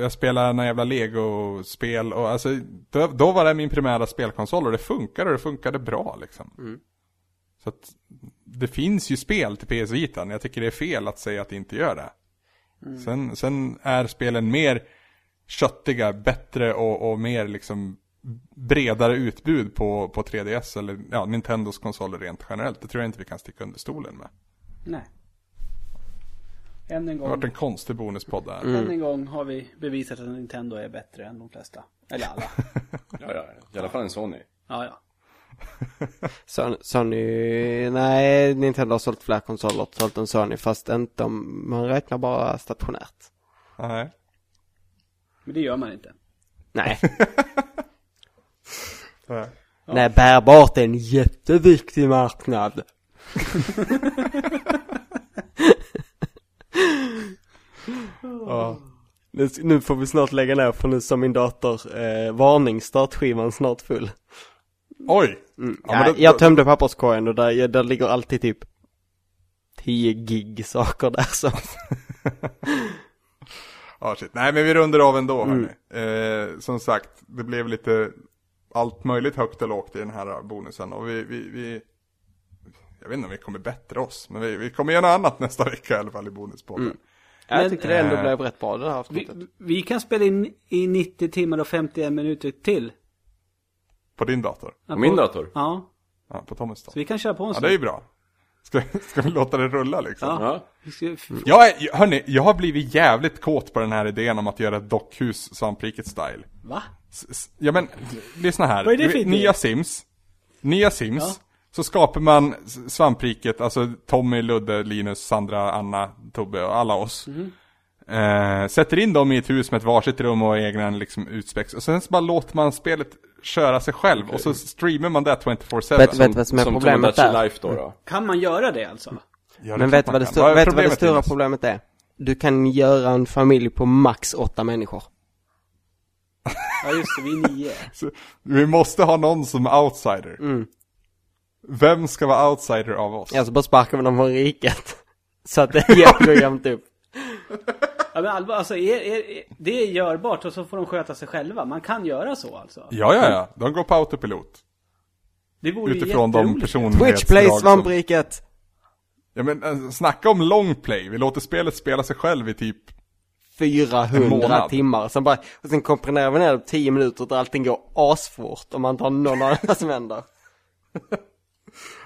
[SPEAKER 1] jag spelade några jävla Lego-spel och alltså då, då var det min primära spelkonsol och det funkade och det funkade bra liksom. Så att det finns ju spel till PS Vitan. Jag tycker det är fel att säga att det inte gör det.
[SPEAKER 3] Mm.
[SPEAKER 1] Sen, sen är spelen mer köttiga, bättre och, och mer liksom bredare utbud på, på 3DS eller ja, Nintendos konsoler rent generellt. Det tror jag inte vi kan sticka under stolen med.
[SPEAKER 4] Nej. Än en
[SPEAKER 1] Det har
[SPEAKER 4] gång.
[SPEAKER 1] varit en konstig bonuspodd där.
[SPEAKER 3] Mm.
[SPEAKER 4] Än en gång har vi bevisat att Nintendo är bättre än de flesta. Eller alla.
[SPEAKER 2] Ja, ja. I alla fall en Sony.
[SPEAKER 4] Ja, ja.
[SPEAKER 3] Son- Sony, nej, Nintendo har sålt fler konsoler totalt än Sony, fast inte om, man räknar bara stationärt.
[SPEAKER 1] Nej.
[SPEAKER 4] Men det gör man inte.
[SPEAKER 3] Nej.
[SPEAKER 1] Nej.
[SPEAKER 3] Nej, bärbart är en jätteviktig marknad.
[SPEAKER 1] Ja.
[SPEAKER 3] Nu, nu får vi snart lägga ner för nu sa min dator eh, varning, startskivan snart full.
[SPEAKER 1] Oj! Ja, men
[SPEAKER 3] Mm. Nej,
[SPEAKER 1] då-
[SPEAKER 3] jag tömde papperskorgen och där, ja, där ligger alltid typ 10 gig saker där så.
[SPEAKER 1] Ja, ah, shit. Nej, men vi rundar av ändå.
[SPEAKER 3] Mm.
[SPEAKER 1] hörni. Eh, som sagt, det blev lite allt möjligt högt och lågt i den här bonusen. Och vi, vi, vi jag vet inte om vi kommer bättre oss, men vi, vi kommer göra något annat nästa vecka i alla fall i bonuspodden.
[SPEAKER 3] Mm. Men jag
[SPEAKER 4] Men-
[SPEAKER 3] tyckte det ändå
[SPEAKER 1] Eh.
[SPEAKER 3] blev rätt bra det här
[SPEAKER 4] Vi,
[SPEAKER 3] avsnittet.
[SPEAKER 4] vi kan spela in i 90 timmar och 51 minuter till.
[SPEAKER 1] På din dator.
[SPEAKER 4] På
[SPEAKER 2] min dator?
[SPEAKER 4] Ja,
[SPEAKER 1] Ja, på Tommys
[SPEAKER 4] så
[SPEAKER 1] dator.
[SPEAKER 4] vi kan köra på en
[SPEAKER 1] Ja,
[SPEAKER 4] sån.
[SPEAKER 1] det är ju bra. Ska, ska vi låta det rulla liksom?
[SPEAKER 4] Ja.
[SPEAKER 2] Ja.
[SPEAKER 4] Vi ska- f-
[SPEAKER 1] Jag är, hörni, jag har blivit jävligt kåt på den här idén om att göra ett dockhus svampriket-style.
[SPEAKER 4] Va?
[SPEAKER 1] S- s- Ja men, lyssna här.
[SPEAKER 4] Vad är det
[SPEAKER 1] Du
[SPEAKER 4] för
[SPEAKER 1] vet,
[SPEAKER 4] idé?
[SPEAKER 1] Nya Sims. Nya Sims.
[SPEAKER 4] Ja.
[SPEAKER 1] Så skapar man s- svampriket, alltså Tommy, Ludde, Linus, Sandra, Anna, Tobbe och alla oss.
[SPEAKER 4] Mhm.
[SPEAKER 1] Eh, sätter in dem i ett hus med ett varsitt rum och egna liksom utspex. Och sen så bara låter man spelet köra sig själv. Och så streamar man det 24-7.
[SPEAKER 3] Vet- vet- vad som är problemet
[SPEAKER 2] Tomodachi
[SPEAKER 3] där?
[SPEAKER 2] Life då då.
[SPEAKER 4] Kan man göra det alltså?
[SPEAKER 1] Ja, det är
[SPEAKER 3] Men
[SPEAKER 1] klart
[SPEAKER 3] vet du vad det,
[SPEAKER 1] man kan.
[SPEAKER 3] stora, vet du vad det
[SPEAKER 1] problemet,
[SPEAKER 3] stora
[SPEAKER 1] Linus?
[SPEAKER 3] problemet är? Du kan göra en familj på max åtta människor.
[SPEAKER 4] Ja just det, vi är nio.
[SPEAKER 1] Så, Vi måste ha någon som är outsider.
[SPEAKER 3] Mm.
[SPEAKER 1] Vem ska vara outsider av oss?
[SPEAKER 3] Alltså bara sparkar man dem från riket. Så att det jämnt går jämnt upp.
[SPEAKER 4] Ja, men allvar, alltså, är, är, är, det är görbart och så får de sköta sig själva. Man kan göra så alltså.
[SPEAKER 1] Ja, ja, ja. De går på autopilot.
[SPEAKER 4] Det vore ju
[SPEAKER 1] Utifrån de
[SPEAKER 4] jätteroligt.
[SPEAKER 1] personlighetsdrag
[SPEAKER 3] Twitch plays
[SPEAKER 1] som-
[SPEAKER 3] svampriket!
[SPEAKER 1] Ja men alltså, snacka om long play, vi låter spelet spela sig själv i typ,
[SPEAKER 3] 400
[SPEAKER 1] månad.
[SPEAKER 3] timmar. Sen bara, och sen komprimerar vi ner det på 10 minuter där allting går asfort om man tar någon av det som händer.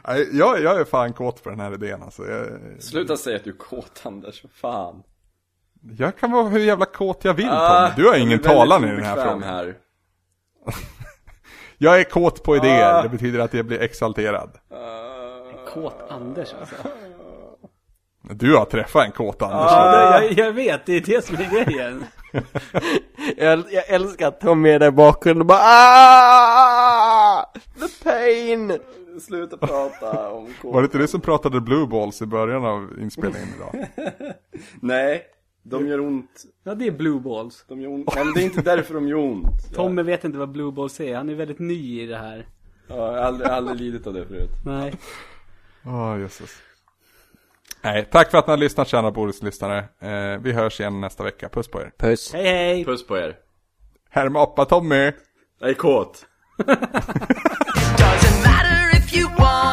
[SPEAKER 1] Nej, jag, jag är fan kåt på den här idén alltså. Jag,
[SPEAKER 2] Sluta säga att du är kåt Anders, fan.
[SPEAKER 1] jag kan vara hur jävla kåt jag vill Tommy,
[SPEAKER 2] Ah,
[SPEAKER 1] du har
[SPEAKER 2] jag
[SPEAKER 1] ingen
[SPEAKER 2] blir väldigt
[SPEAKER 1] talan i den här
[SPEAKER 2] obekväm
[SPEAKER 1] frågan.
[SPEAKER 2] Här.
[SPEAKER 1] Jag är kåt på idéer,
[SPEAKER 2] Ah.
[SPEAKER 1] det betyder att jag blir exalterad.
[SPEAKER 2] Eh,
[SPEAKER 4] Kåt Anders alltså.
[SPEAKER 1] Du har träffat en kåt Anders.
[SPEAKER 3] Ah,
[SPEAKER 4] Ja, det, jag, jag vet, det är det som är grejen.
[SPEAKER 3] Jag, jag älskar att Tommy är där i bakgrunden och bara "Ah, The pain!
[SPEAKER 2] Sluta prata om kåt.
[SPEAKER 1] Var det inte du som pratade blue balls i början av inspelningen idag?
[SPEAKER 2] Nej, de gör ont.
[SPEAKER 4] Ja, det är blue balls.
[SPEAKER 2] De gör ont. Nej, men det är inte därför de gör ont.
[SPEAKER 4] Tommy vet inte vad blue balls är. Han är väldigt ny i det här.
[SPEAKER 2] Ja, jag har aldrig, aldrig lidit av det förut.
[SPEAKER 4] Nej.
[SPEAKER 1] Åh jösses. Ah, Nej, tack för att ni har lyssnat kära Boris-lyssnare. Eh, vi hörs igen nästa vecka, puss på er.
[SPEAKER 3] Puss.
[SPEAKER 4] Hej hej!
[SPEAKER 2] Puss på er.
[SPEAKER 1] Här med Appa-Tommy!
[SPEAKER 2] Jag är kåt.
[SPEAKER 5] Doesn't matter if you want.